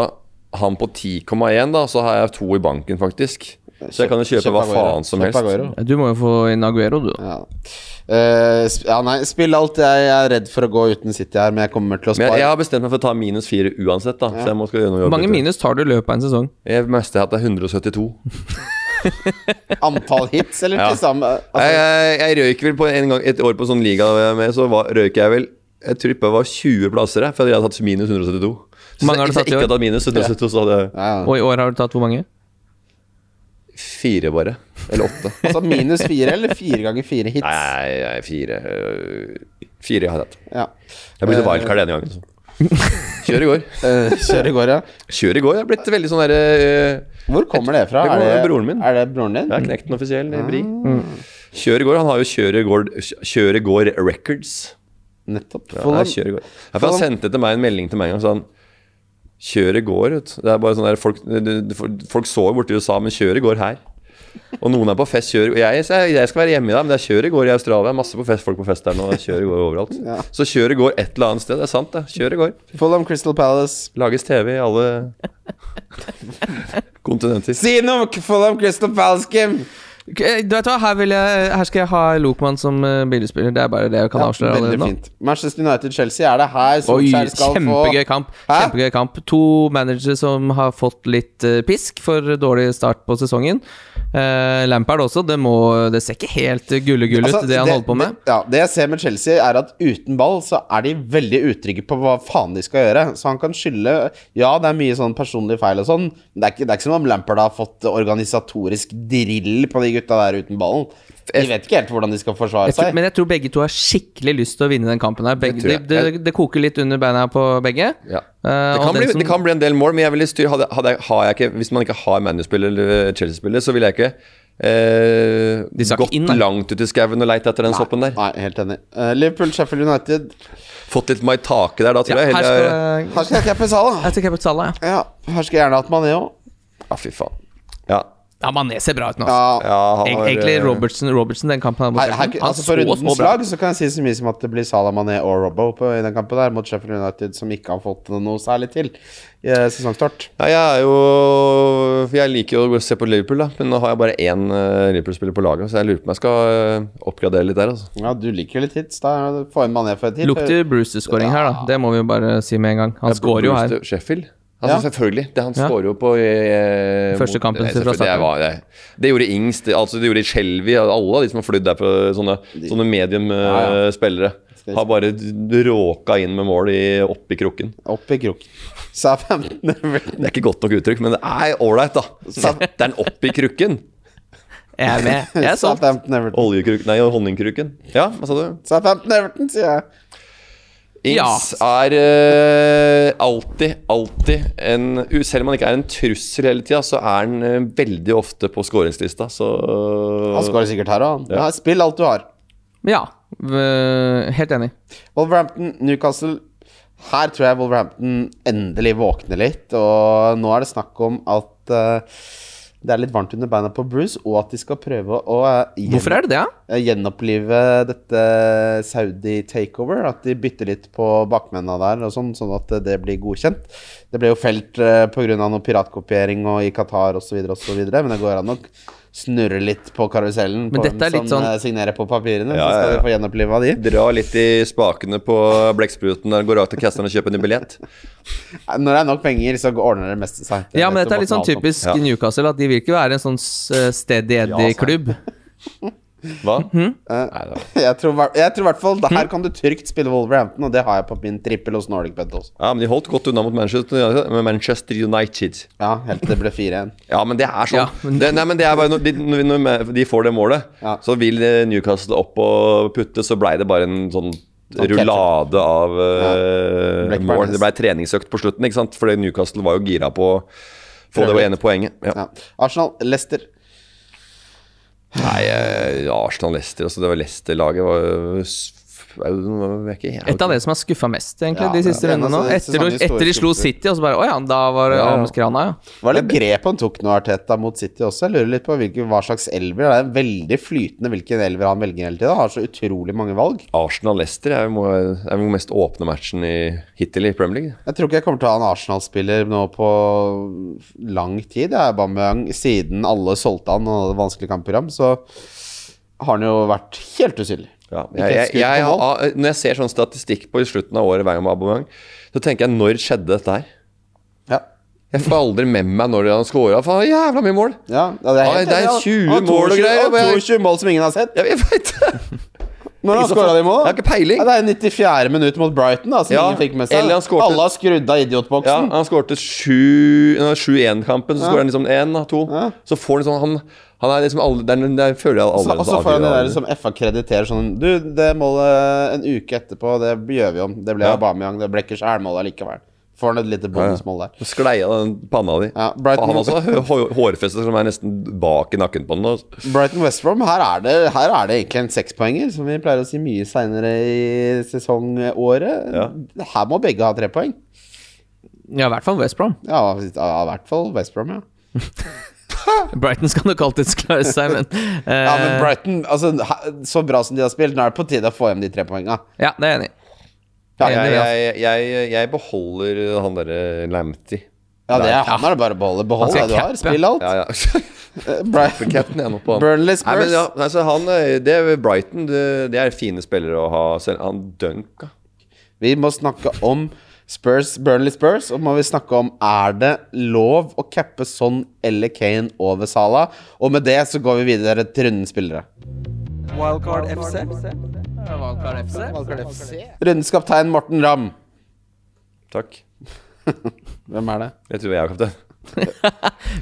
D: han på 10,1, da, så har jeg to i banken, faktisk. Så jeg kan jo kjøpe hva
C: Aguero.
D: faen som
C: Kjøp
D: helst.
C: Aguero.
B: Du må jo få inn Aguero, du.
C: Ja. Eh, sp ja, nei, spill alt. Jeg jeg er redd for å gå uten City her, men jeg kommer til å
D: Men
C: spare.
D: jeg, jeg har bestemt meg for å ta minus fire uansett, da. Så jeg må skal gjøre noe
B: Hvor mange
D: jobb.
B: minus tar du i løpet av en sesong?
D: Jeg meste at det er 172.
C: Antall hits, eller
D: Ja.
C: til sammen? Altså,
D: jeg, jeg, jeg røyk vel på en gang et år på sånn liga jeg var med, så var, røyk jeg vel Jeg trippa var 20 plasser, jeg, for jeg hadde tatt minus 172. Så
B: Mange har du
D: hvis jeg
B: tatt i
D: ikke
B: år?
D: hadde tatt minus 172, så hadde jeg
C: ja.
B: Og i år har du tatt hvor mange?
D: fire, bare. Eller åtte.
C: altså minus fire, eller fire ganger fire hits?
D: Nei, nei, fire øh, Fire jeg har tatt.
C: Ja.
D: Jeg brukte wildcard denne gangen. Så.
B: [LAUGHS]
D: Kjør i går.
C: Eh, kjør i går, ja.
D: Kjør i går. Jeg har blitt veldig sånn derre
C: Hvor kommer det fra?
D: Det kommer
C: er,
D: fra
C: det,
D: broren min.
C: er det broren din?
D: Jeg har knekt den offisiell i Bri. Kjør i går. Han har jo Kjør i går, kjør i går Records.
C: Nettopp.
D: Ja,
C: Fulham.
D: jeg kjører i går. Ja, for han sendte til meg en melding til meg en gang, så han Kjør i går, vet du. Det er bare sånn der folk, det- det- folk så jo borte i USA, men kjør i går her. Og noen er på fest, kjør jeg, jeg, jeg skal være hjemme i dag, men det er kjør i går i Australia. Masse på fest, folk på fest der nå. Kjør i går overalt. Så kjør i går et eller annet sted. Det er sant, det. Kjør i går.
C: Fulham Crystal Palace.
D: Lages TV i alle kontinenter.
C: Si noe om Fulham Crystal Palace, Kim!
B: Ok, Du eh, vet hva, her, vil jeg, her skal jeg ha Lokman som eh, billedspiller. Det er bare det jeg kan
C: Ja,
B: avsløre
C: veldig
B: allerede nå.
C: fint. Manchester United-Chelsea, er det her
B: Oi,
C: Solskjær skal
B: kjempegøy
C: få
B: kamp.
C: Hæ?
B: Kjempegøy kamp To managere som har fått litt eh, pisk for dårlig start på sesongen. Eh, Lampard også. Det, må, det ser ikke helt eh, gullegull ut,
C: Altså,
B: det han holder på med.
C: Det, ja, det jeg ser med Chelsea, er at uten ball så er de veldig utrygge på hva faen de skal gjøre. Så han kan skylde Ja, det er mye sånn personlige feil og sånn, men det er, ikke, det er ikke som om Lampard har fått organisatorisk drill på de gutta der uten ballen. De vet ikke helt hvordan de skal forsvare
B: Jeg tror,
C: seg.
B: men jeg tror begge to har skikkelig lyst til å vinne den kampen her. Begge,
D: tror
B: det,
D: jeg.
B: det, det koker litt under beina på begge.
D: Ja.
B: Eh,
D: Det
B: og
D: kan,
B: den
D: bli,
B: som-
D: det kan bli en del mål, men jeg vil styr, hadde, hadde, jeg- har jeg ikke, hvis man ikke har ManU-spiller eller Chelsea-spiller, så ville jeg ikke eh,
B: skal ikke
D: gått
B: inn, nei.
D: langt ut i skauen og leit etter den soppen der.
C: Nei, helt enig. Eh, Liverpool, Sheffield United
D: Fått litt maitake der, da tror
B: ja,
D: jeg.
B: her skal
D: Heller,
B: eh,
C: Her skal jeg cappe Salah.
B: jeg til Kepa Salah, ja.
C: Ja, her skal jeg gjerne hatt Mané òg.
D: Ja, fy faen. Ja.
B: ja, Mané ser bra ut nå.
C: Ja,
B: altså.
D: ja han
B: Eg-
D: var,
B: Egentlig
D: eh,
B: Robertson, Robertson den kampen han,
C: Her, her,
B: han
C: altså
B: så
C: for
B: så
C: rundens
B: bra
C: lag så kan jeg si så mye som at det blir Salah Mané og Robbo på, i den kampen der mot Sheffield United, som ikke har fått noe særlig til i eh, sesongstart.
D: ja, jeg er jo Jeg liker jo å gå og se på Liverpool, da, men nå har jeg bare én eh, Liverpool-spiller på laget, så jeg lurer på om jeg skal eh, oppgradere litt der, altså.
C: Ja, du liker jo litt hits. Da få inn Mané for et hit.
B: Lukter Brewster-skåring her, da. Det må vi jo bare si med en gang. Han skårer jo her.
D: Brewster- Sheffield. Altså,
C: Ja.
D: Selvfølgelig. Det han
B: Ja.
D: skårer jo på eh,
B: Første
D: mot-
B: kampen
D: Nei,
B: sin fra
D: selvfølgelig, det,
B: starten.
D: var, det, det gjorde Ings, det, altså, det gjorde Shelby, alle av de som har flydd der på sånne, sånne
C: Ja,
D: medium-spillere.
C: Skal vi
D: Har bare d- råka inn med mål i, oppi krukken.
C: eh, Opp i krok. Sa 15
D: Det er ikke godt nok uttrykk, men det er ålreit, da. Setter den opp i krukken.
B: Jeg er med. Jeg er
C: [LAUGHS]
B: sånn.
C: Sa
B: solgt.
C: 15 Everton.
D: Oljekrukken Nei, honningkrukken. Ja, hva sa du?
C: Sa 15 Everton, sier jeg.
D: Ings er eh, alltid, alltid en Selv om han ikke er en trussel hele tida, så er han eh, veldig ofte på skåringslista, så
C: Han skårer sikkert her òg. Ja, spill alt du har.
B: Ja. v- Helt enig.
C: Wolverhampton, Newcastle. Her tror jeg Wolverhampton endelig våkner litt. Og nå er det snakk om at eh, det er litt varmt under beina på Bruce, og at de skal prøve å eh, gjen-
B: Hvorfor er det det? ja?
C: eh, gjenopplive dette Saudi-takeover. At de bytter litt på bakmennene der, og sånn, sånn at det blir godkjent. Det ble jo felt eh, på grunn av noe piratkopiering og i Qatar osv., osv., men det går an å snurre litt på karusellen
B: Men
C: på
B: dette er
C: hvem
B: litt
C: som
B: sånn-
C: eh, signerer på papirene. Så
D: Ja,
C: skal
D: ja, ja.
C: de få gjenoppliva de.
D: Dra litt i spakene på blekkspruten der, går rakt til casteren og kjøper en ny billett.
C: Når det er nok penger, så ordner det meste seg. Det
B: Ja,
C: vet
B: men dette
C: jo
B: er litt sånn
C: Morten Alsson.
B: typisk
D: Ja.
B: Newcastle, at de vil ikke være en sånn s- steady Eddie-klubb.
D: Hva? Nei, da.
C: Jeg tror, hver- jeg tror i hvert fall her
B: Mhm.
C: kan du trygt spille Wolverhampton, og det har jeg på min trippel hos Nordic Bet også.
D: Ja, men de holdt godt unna mot Manchester, med Manchester United.
C: Ja, helt til det ble 4-1.
D: Ja, men det er sånn.
B: Ja, men-
D: det, nei, men det er bare når de, når når de får det målet,
C: Ja.
D: så vil eh, Newcastle opp og putte, så blei det bare en sånn
C: Sånn
D: rullade av eh,
C: Ble ikke
D: mål.
C: bare-
D: Det blei treningsøkt på slutten, ikke sant? Fordi Newcastle var jo gira på å få det ene poenget. Ja.
C: Ja. Arsenal, Leicester.
D: Nei, eh, Arsenal-Leicester altså, Det var Leicester-laget var jo s- er jo- jeg er ikke- jeg er jo
B: Et av det som har skuffa mest, egentlig,
C: Ja,
B: de
C: det er
B: siste
C: en av
B: rundene nå.
C: de
B: Etter,
C: sesongens store
B: etter de slo
C: skuffelser.
B: City, og så bare Å ja, da var det
D: Ja, ja.
B: Ameskrana, ja.
C: Hva er det grep han tok nå, Arteta, mot City også? Jeg lurer litt på hvilken, hva slags elver. Det er veldig flytende hvilken elver han velger hele tida. Han har så utrolig mange valg.
D: Arsenal-Leicester er jo må- er jo den mest åpne matchen i, hittil i Premier League.
C: Jeg tror ikke jeg kommer til å ha en Arsenal-spiller nå på lang tid. Jeg er bare med Siden alle solgte han og han hadde et vanskelig kampprogram, så har han jo vært helt usynlig.
D: Ja,
C: Ikke
D: jeg,
C: et
D: jeg,
C: skudd
D: jeg,
C: på mål.
D: har- når jeg ser sånn statistikk på i slutten av året hver gang med Aubameyang, så tenker jeg når skjedde dette her?
C: Ja.
D: Jeg får aldri med meg når han scora. Faen, jævla mye mål!
C: Ja, ja, det er, helt
D: Nei, Ah, det
C: enig,
D: er
C: han-
D: 20
C: han har
D: mål og
C: 22
D: greier,
C: han har
D: og jeg-
C: 22 mål som ingen har sett.
D: Jeg, jeg veit det!
C: Når har han
D: Ikke så
C: skåra
D: faen-
C: de mål? da?
D: Jeg har ikke peiling.
C: Ja, det er 94. minutt mot Brighton, da, som
D: Ja,
C: ingen fikk med seg.
D: eller han skårte-
C: Alle har skrudd av
D: [LAUGHS] Ja,
C: idiotboksen.
D: han skårte 7-1-kampen, så skårer han liksom 1 to.
C: Ja.
D: Så får han sånn Han, han er liksom aldri Der, der føler jeg
C: Så-
D: allerede
C: Og så får han det der som FA krediterer sånn Du, det målet en uke etterpå, det gjør vi om. Det ble
D: Ja.
C: Aubameyang, det ble ikke skjærmål allikevel. Får han et lite bonusmål der.
D: Sklei av den panna di.
C: Ja, Brighton-
D: Faen, altså, Han også har hår- hårfeste som er nesten bak i nakken på den. altså.
C: Brighton West Brom, her er det, her er det egentlig en sekspoenger, som vi pleier å si mye seinere i sesongåret. Her må begge ha tre poeng.
B: Ja, i hvert fall West Brom. [LAUGHS]
C: Ja, i hvert fall West Brom, ja.
B: Brighton skal nok alltids klare seg, men eh,
C: Ja, men Brighton, altså, he- så bra som de har spilt, nå er det på tide å få hjem de tre poenga.
B: Ja, det er jeg enig i.
C: Ja,
B: Enig,
D: Jeg,
B: ja.
D: jeg, jeg, jeg beholder han derre Lamptey.
C: Ja, det er, han er det bare å beholde. Behold det
B: skal
C: du har.
B: cappe.
C: Spill alt.
D: Ja, ja. [LAUGHS]
C: Eh, Brighton-
D: Captain er nå på han.
C: Burnley
D: Nei,
C: Spurs.
D: men ja, altså, han, eh, det er Brighton det, det er fine spillere å ha. Selv han Dunk ja.
C: Vi må snakke om Spurs, Burnley Spurs, og må vi snakke om er det lov å cappe sånn eller Kane over Sala. Og med det så går vi videre til rundens spillere.
A: Wildcard FC.
C: Rundens kaptein Morten Ramm.
D: Takk.
C: Hvem er det?
D: Jeg tror jeg er kaptein.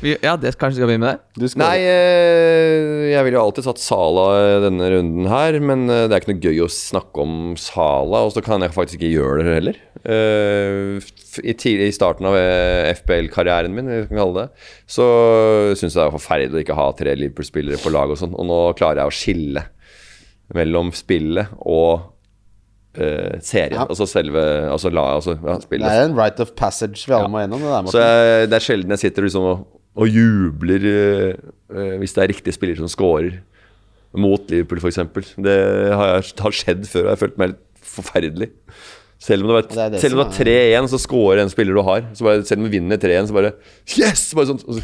B: Vi- Ja, det kanskje skal begynne med det?
C: Du skal-
D: Nei, eh, jeg ville jo alltid satt Sala i denne runden her, men eh, det er ikke noe gøy å snakke om Sala, og så kan jeg faktisk ikke gjøre det heller. Eh, f- I, tidlig, I starten av eh, FBL-karrieren min, vi kan kalle det, så syns jeg det er forferdelig å ikke ha tre Liverpool-spillere på lag og sånn, og nå klarer jeg å skille mellom spillet og eh, serien,
C: Ja.
D: altså selve altså, la, altså ja,
C: Det
D: spillet.
C: er en right of passage vi alle må gjennom. Det der,
D: Så
C: Morten.
D: jeg, det er sjelden jeg sitter liksom og, og jubler eh, eh, hvis det er riktige spillere som scorer mot Liverpool, f.eks. Det har, jeg, har skjedd før, og jeg har følt meg litt forferdelig. Selv om det
C: Det er
D: var,
C: det
D: selv om
C: som
D: det var 3-1, så scorer en spiller du har. Så bare, selv om du vinner 3-1, så bare Yes! Bare sånn, og så,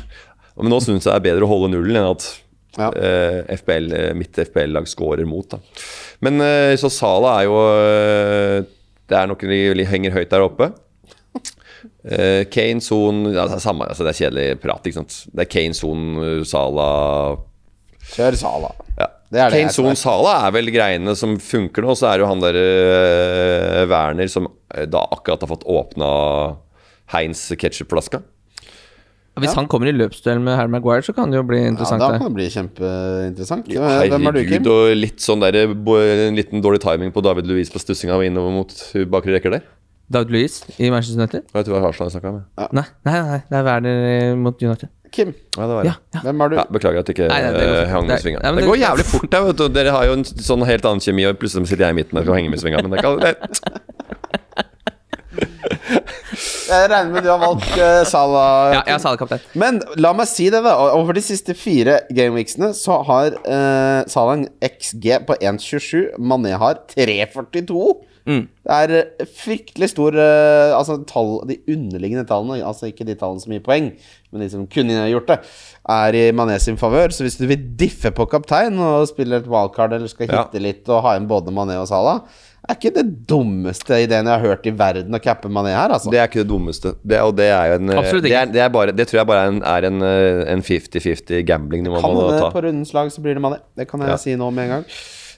D: men nå syns jeg det er bedre å holde nullen enn at
C: Ja.
D: eh, FPL, eh, mitt FPL-lag scorer mot. Da. Men eh, så Sala er jo eh, Det er nok de henger høyt der oppe. Eh, Kane, Son ja, det, er samme, altså, det er kjedelig prat, ikke sant. Det er Kane, Son, Sala
C: Kjør Sala.
D: ja.
C: Det er det jeg
D: Kane, Son,
C: tror.
D: Sala er vel greiene som funker nå. Så er det jo han der eh, Werner som eh, da akkurat har fått åpna Heinz ketchupflaska.
B: Hvis han kommer i løpsduell med Harry Maguire, så kan det jo bli
C: Ja,
B: interessant.
C: da
B: det.
C: kan det bli kjempeinteressant. Hvem er du, Kim?
D: Herregud, og litt sånn der, bo- en liten dårlig timing på David Louise på stussinga innover mot bakre rekker der.
B: David Luiz i Manchester United?
D: Jeg vet du hva Arsenal snakka om? jeg.
B: Nei, nei, nei, det er Werner eh, mot United.
C: Kim,
D: Ja, det var det.
B: Ja, ja.
C: hvem er du?
D: Ja, beklager at jeg ikke
B: Nei, nei, det går
D: eh,
B: fint.
D: hang
B: Det
D: med
B: er-
D: svinga.
B: Nei, men
D: Det
B: det-
D: går jævlig fort der, vet du. Dere har jo en sånn helt annen kjemi, og plutselig sitter jeg i midten og kan henge med svinga. Men det kan, det,
C: Jeg regner med du har valgt eh, Sala.
B: Ja, jeg sa det, kaptein.
C: Men la meg si det, da. Over de siste fire gameweeksene så har eh, Salah en XG på 1,27. Mané har 3,42. Det er eh, fryktelig stor eh, Altså tall, de underliggende tallene, altså ikke de tallene som gir poeng, men de som kunne gjort det, er i Mané sin favør. Så hvis du vil diffe på kaptein og spille et wildcard eller skal
D: Ja.
C: hitte litt og ha inn både Mané og Salah, er ikke det dummeste ideen jeg har hørt i verden å cappe Mané her, altså.
D: det er ikke det dummeste. Det, og det er jo en eh,
B: Absolutt
D: Det,
B: ikke.
D: er, det, er bare, det tror jeg bare er en- er en, eh, en 50-50 gambling-nivå man
C: Kan
D: må
C: hende
D: ta.
C: på rundens lag så blir det Mané. Det kan jeg
D: Ja.
C: si nå med en gang.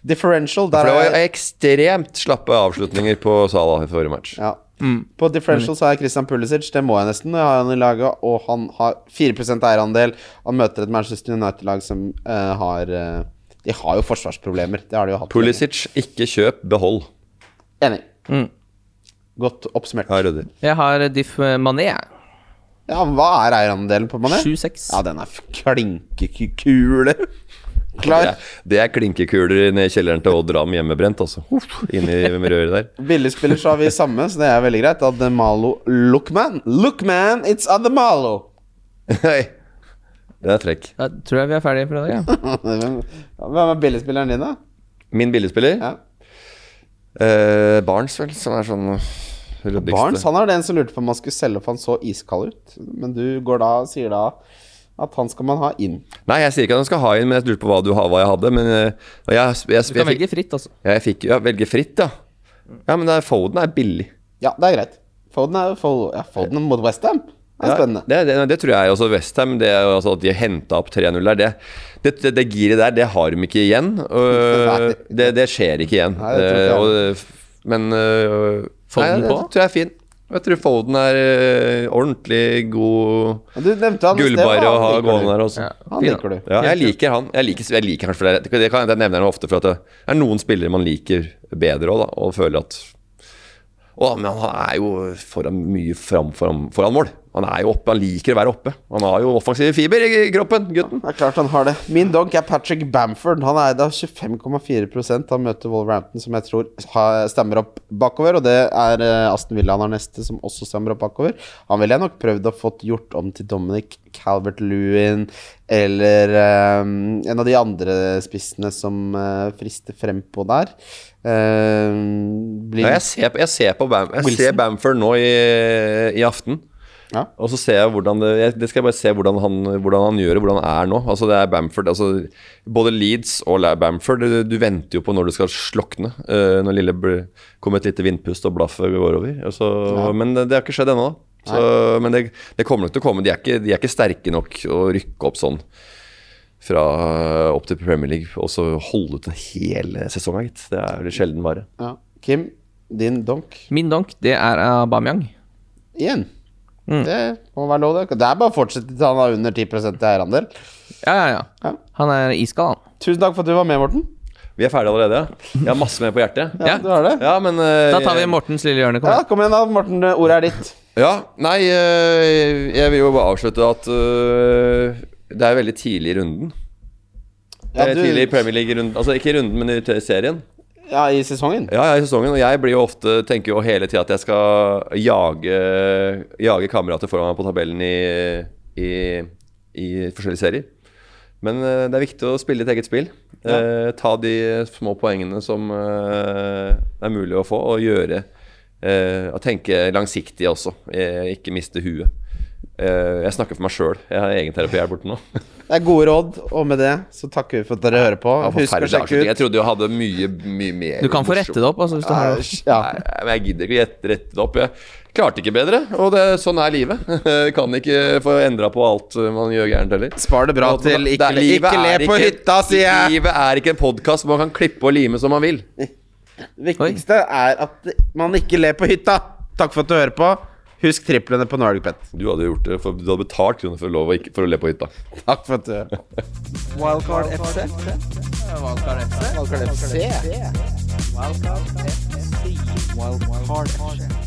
C: Differential,
D: For
C: der
D: det
C: er
D: var
C: jeg
D: jo ekstremt slappe avslutninger på Salah i forrige match.
C: ja.
D: Mm.
C: På differential så er jeg Christian Pulisic, det må jeg nesten. Jeg har han i laget, og han har 4 eierandel. Han møter et Manchester United-lag som eh, har eh, De har jo forsvarsproblemer. Det har de jo hatt.
D: Pulisic, ikke kjøp, behold.
C: Enig.
B: Mm.
C: Godt oppsummert.
D: Ja, Rødder.
B: Jeg har eh, Diff eh, Mané. jeg.
C: Ja, hva er eierandelen på Mané?
B: 7-6.
C: Ja, den er f- klinkekule. Klar.
D: Det er, det er klinkekuler ned i kjelleren til Odd Ram hjemmebrent, altså. Uff, Inni røret der. [LAUGHS]
C: Billigspiller så har vi samme, så det er veldig greit. Ademalo Lookman. Lookman, it's Ademalo!
D: Hei. Det er trekk.
B: Da tror jeg vi er ferdige for i dag, ja.
C: Hvem hvem er billigspilleren din, da?
D: Min billigspiller?
C: Ja.
D: Eh, Barnes, vel, som er sånn ryddigste.
C: Barnes han er den som lurte på om han skulle selge, for han så iskald ut. Men du går da, sier da at han skal man ha inn.
D: Nei, jeg sier ikke at han skal ha inn, men jeg lurte på hva du har, hva jeg hadde. Men eh, og jeg, jeg, jeg,
B: Du kan velge fritt, altså.
D: Ja, jeg fikk ja, velge fritt, ja. Ja, men det er- Foden er billig.
C: Ja, det er greit. Foden er Foden, ja, Foden mot Westham. Det er
D: Ja,
C: spennende.
D: Det, det, det tror jeg også Westham. Altså at de henta opp 3-0 der, det, det, det, det giret der, det har de ikke igjen.
C: [LAUGHS] Nei.
D: Og det, det skjer ikke igjen.
C: Nei, det tror jeg
D: Eh, og, men øh,
B: Foden
D: nei,
B: på?
D: Det tror jeg er fin. Jeg tror Foden er øh, ordentlig god
C: Men Du nevnte han i sted,
D: gullbare å
C: han
D: ha
C: liker du.
D: gående her altså. også.
B: Ja,
C: Han
B: fin,
C: liker
B: da.
C: du.
D: Ja, jeg liker han. Jeg liker, jeg liker han for det, det kan, jeg nevner han ofte for at det er noen spillere man liker bedre òg, da, og føler at Å, men han er jo foran mye fram, foran, foran mål. Han er jo oppe, han liker å være oppe. Han har jo offensiv fiber i kroppen, gutten.
C: Det er klart han har det. Min dog er Patrick Bamford. Han er da 25,4 Han møter Wolverhampton, som jeg tror har- stemmer opp bakover. Og det er eh, Aston Villa han har neste, som også stemmer opp bakover. Han ville jeg nok prøvd å fått gjort om til Dominic Calvert-Lewin eller eh, en av de andre spissene som eh, frister frempå der. Eh, blir-
D: Ja, jeg, ser på, jeg, ser på Bam, jeg
C: Wilson?
D: ser Bamford nå i, i aften.
C: Ja.
D: Og så ser jeg hvordan det, jeg, det skal jeg bare se hvordan han, hvordan han gjør det, hvordan han er nå. Altså det er Bamford, altså Både Leeds og La- Bamford du, du venter jo på når det skal slokne. eh, når lille bl- kommer et lite vindpust og blaffet går over. Og så, Men det, det har ikke skjedd ennå. da. Så, men det, det kommer nok til å komme. De er, ikke, de er ikke sterke nok å rykke opp sånn fra opp til Premier League og så holde ut en hel sesong, gitt. Det er jo sjelden vare.
C: ja. Kim, din donk
B: Min donk, det er Aubameyang.
C: igjen. Det må være lov, det. Det er bare å fortsette til han har under 10 i eierandel.
B: Ja, ja, ja.
C: Ja.
B: Han er iskald, han.
C: Tusen takk for at du var med, Morten.
D: Vi er ferdige allerede. ja. Jeg har masse mer på hjertet.
B: Ja.
C: Du har det?
D: Ja, men eh,
B: Da tar vi Mortens lille hjørne. Kom
C: Ja,
B: igjen.
C: kom igjen da, Morten. Ordet er ditt.
D: Ja, nei, eh, jeg vil jo bare avslutte at eh, det er veldig tidlig i runden. Det
C: Ja,
D: er
C: du-
D: Tidlig i Premier League-runden. Altså ikke i runden, men i t- serien.
C: Ja, i sesongen.
D: Ja, ja, i sesongen. Og jeg blir jo ofte, tenker jo hele tida at jeg skal jage, jage kamerater foran meg på tabellen i, i, i forskjellige serier. Men eh, det er viktig å spille ditt eget spill. Eh, ta de små poengene som eh, er mulig å få, og gjøre eh, og Tenke langsiktig også. Eh, ikke miste huet. Eh, jeg snakker for meg sjøl. Jeg har egen terapi her borte nå.
C: Det er gode råd, og med det så takker vi for at dere hører på.
D: Det var
C: Husk å
D: forferdelig
C: sjekke ut
D: avslutning. Jeg trodde jeg hadde mye, mye mer
B: Du kan få
D: morsomt.
B: rette det opp. Altså, hvis du har
C: Eh, ja.
D: Nei, men jeg gidder ikke rette, rette det opp. Jeg klarte ikke bedre, og det, sånn er livet. [LAUGHS] kan ikke få endra på alt man gjør gærent heller.
C: Spar det bra
D: Og at-
C: til
D: det
C: ikke,
D: er- livet
C: ikke le
D: er
C: på
D: ikke-
C: hytta, sier jeg!
D: Livet er ikke en podkast hvor man kan klippe og lime som man vil.
C: Det viktigste er at man ikke ler på hytta. Takk for at du hører på. Husk triplene på Nordic Pet.
D: Du hadde gjort det, for du hadde betalt kroner for, lov å ikke, for å le på hytta.
C: Takk for at du hører på.
A: Wildcard FC.
C: Hva skal det se?
A: Wildcard FC. Wildcard FC.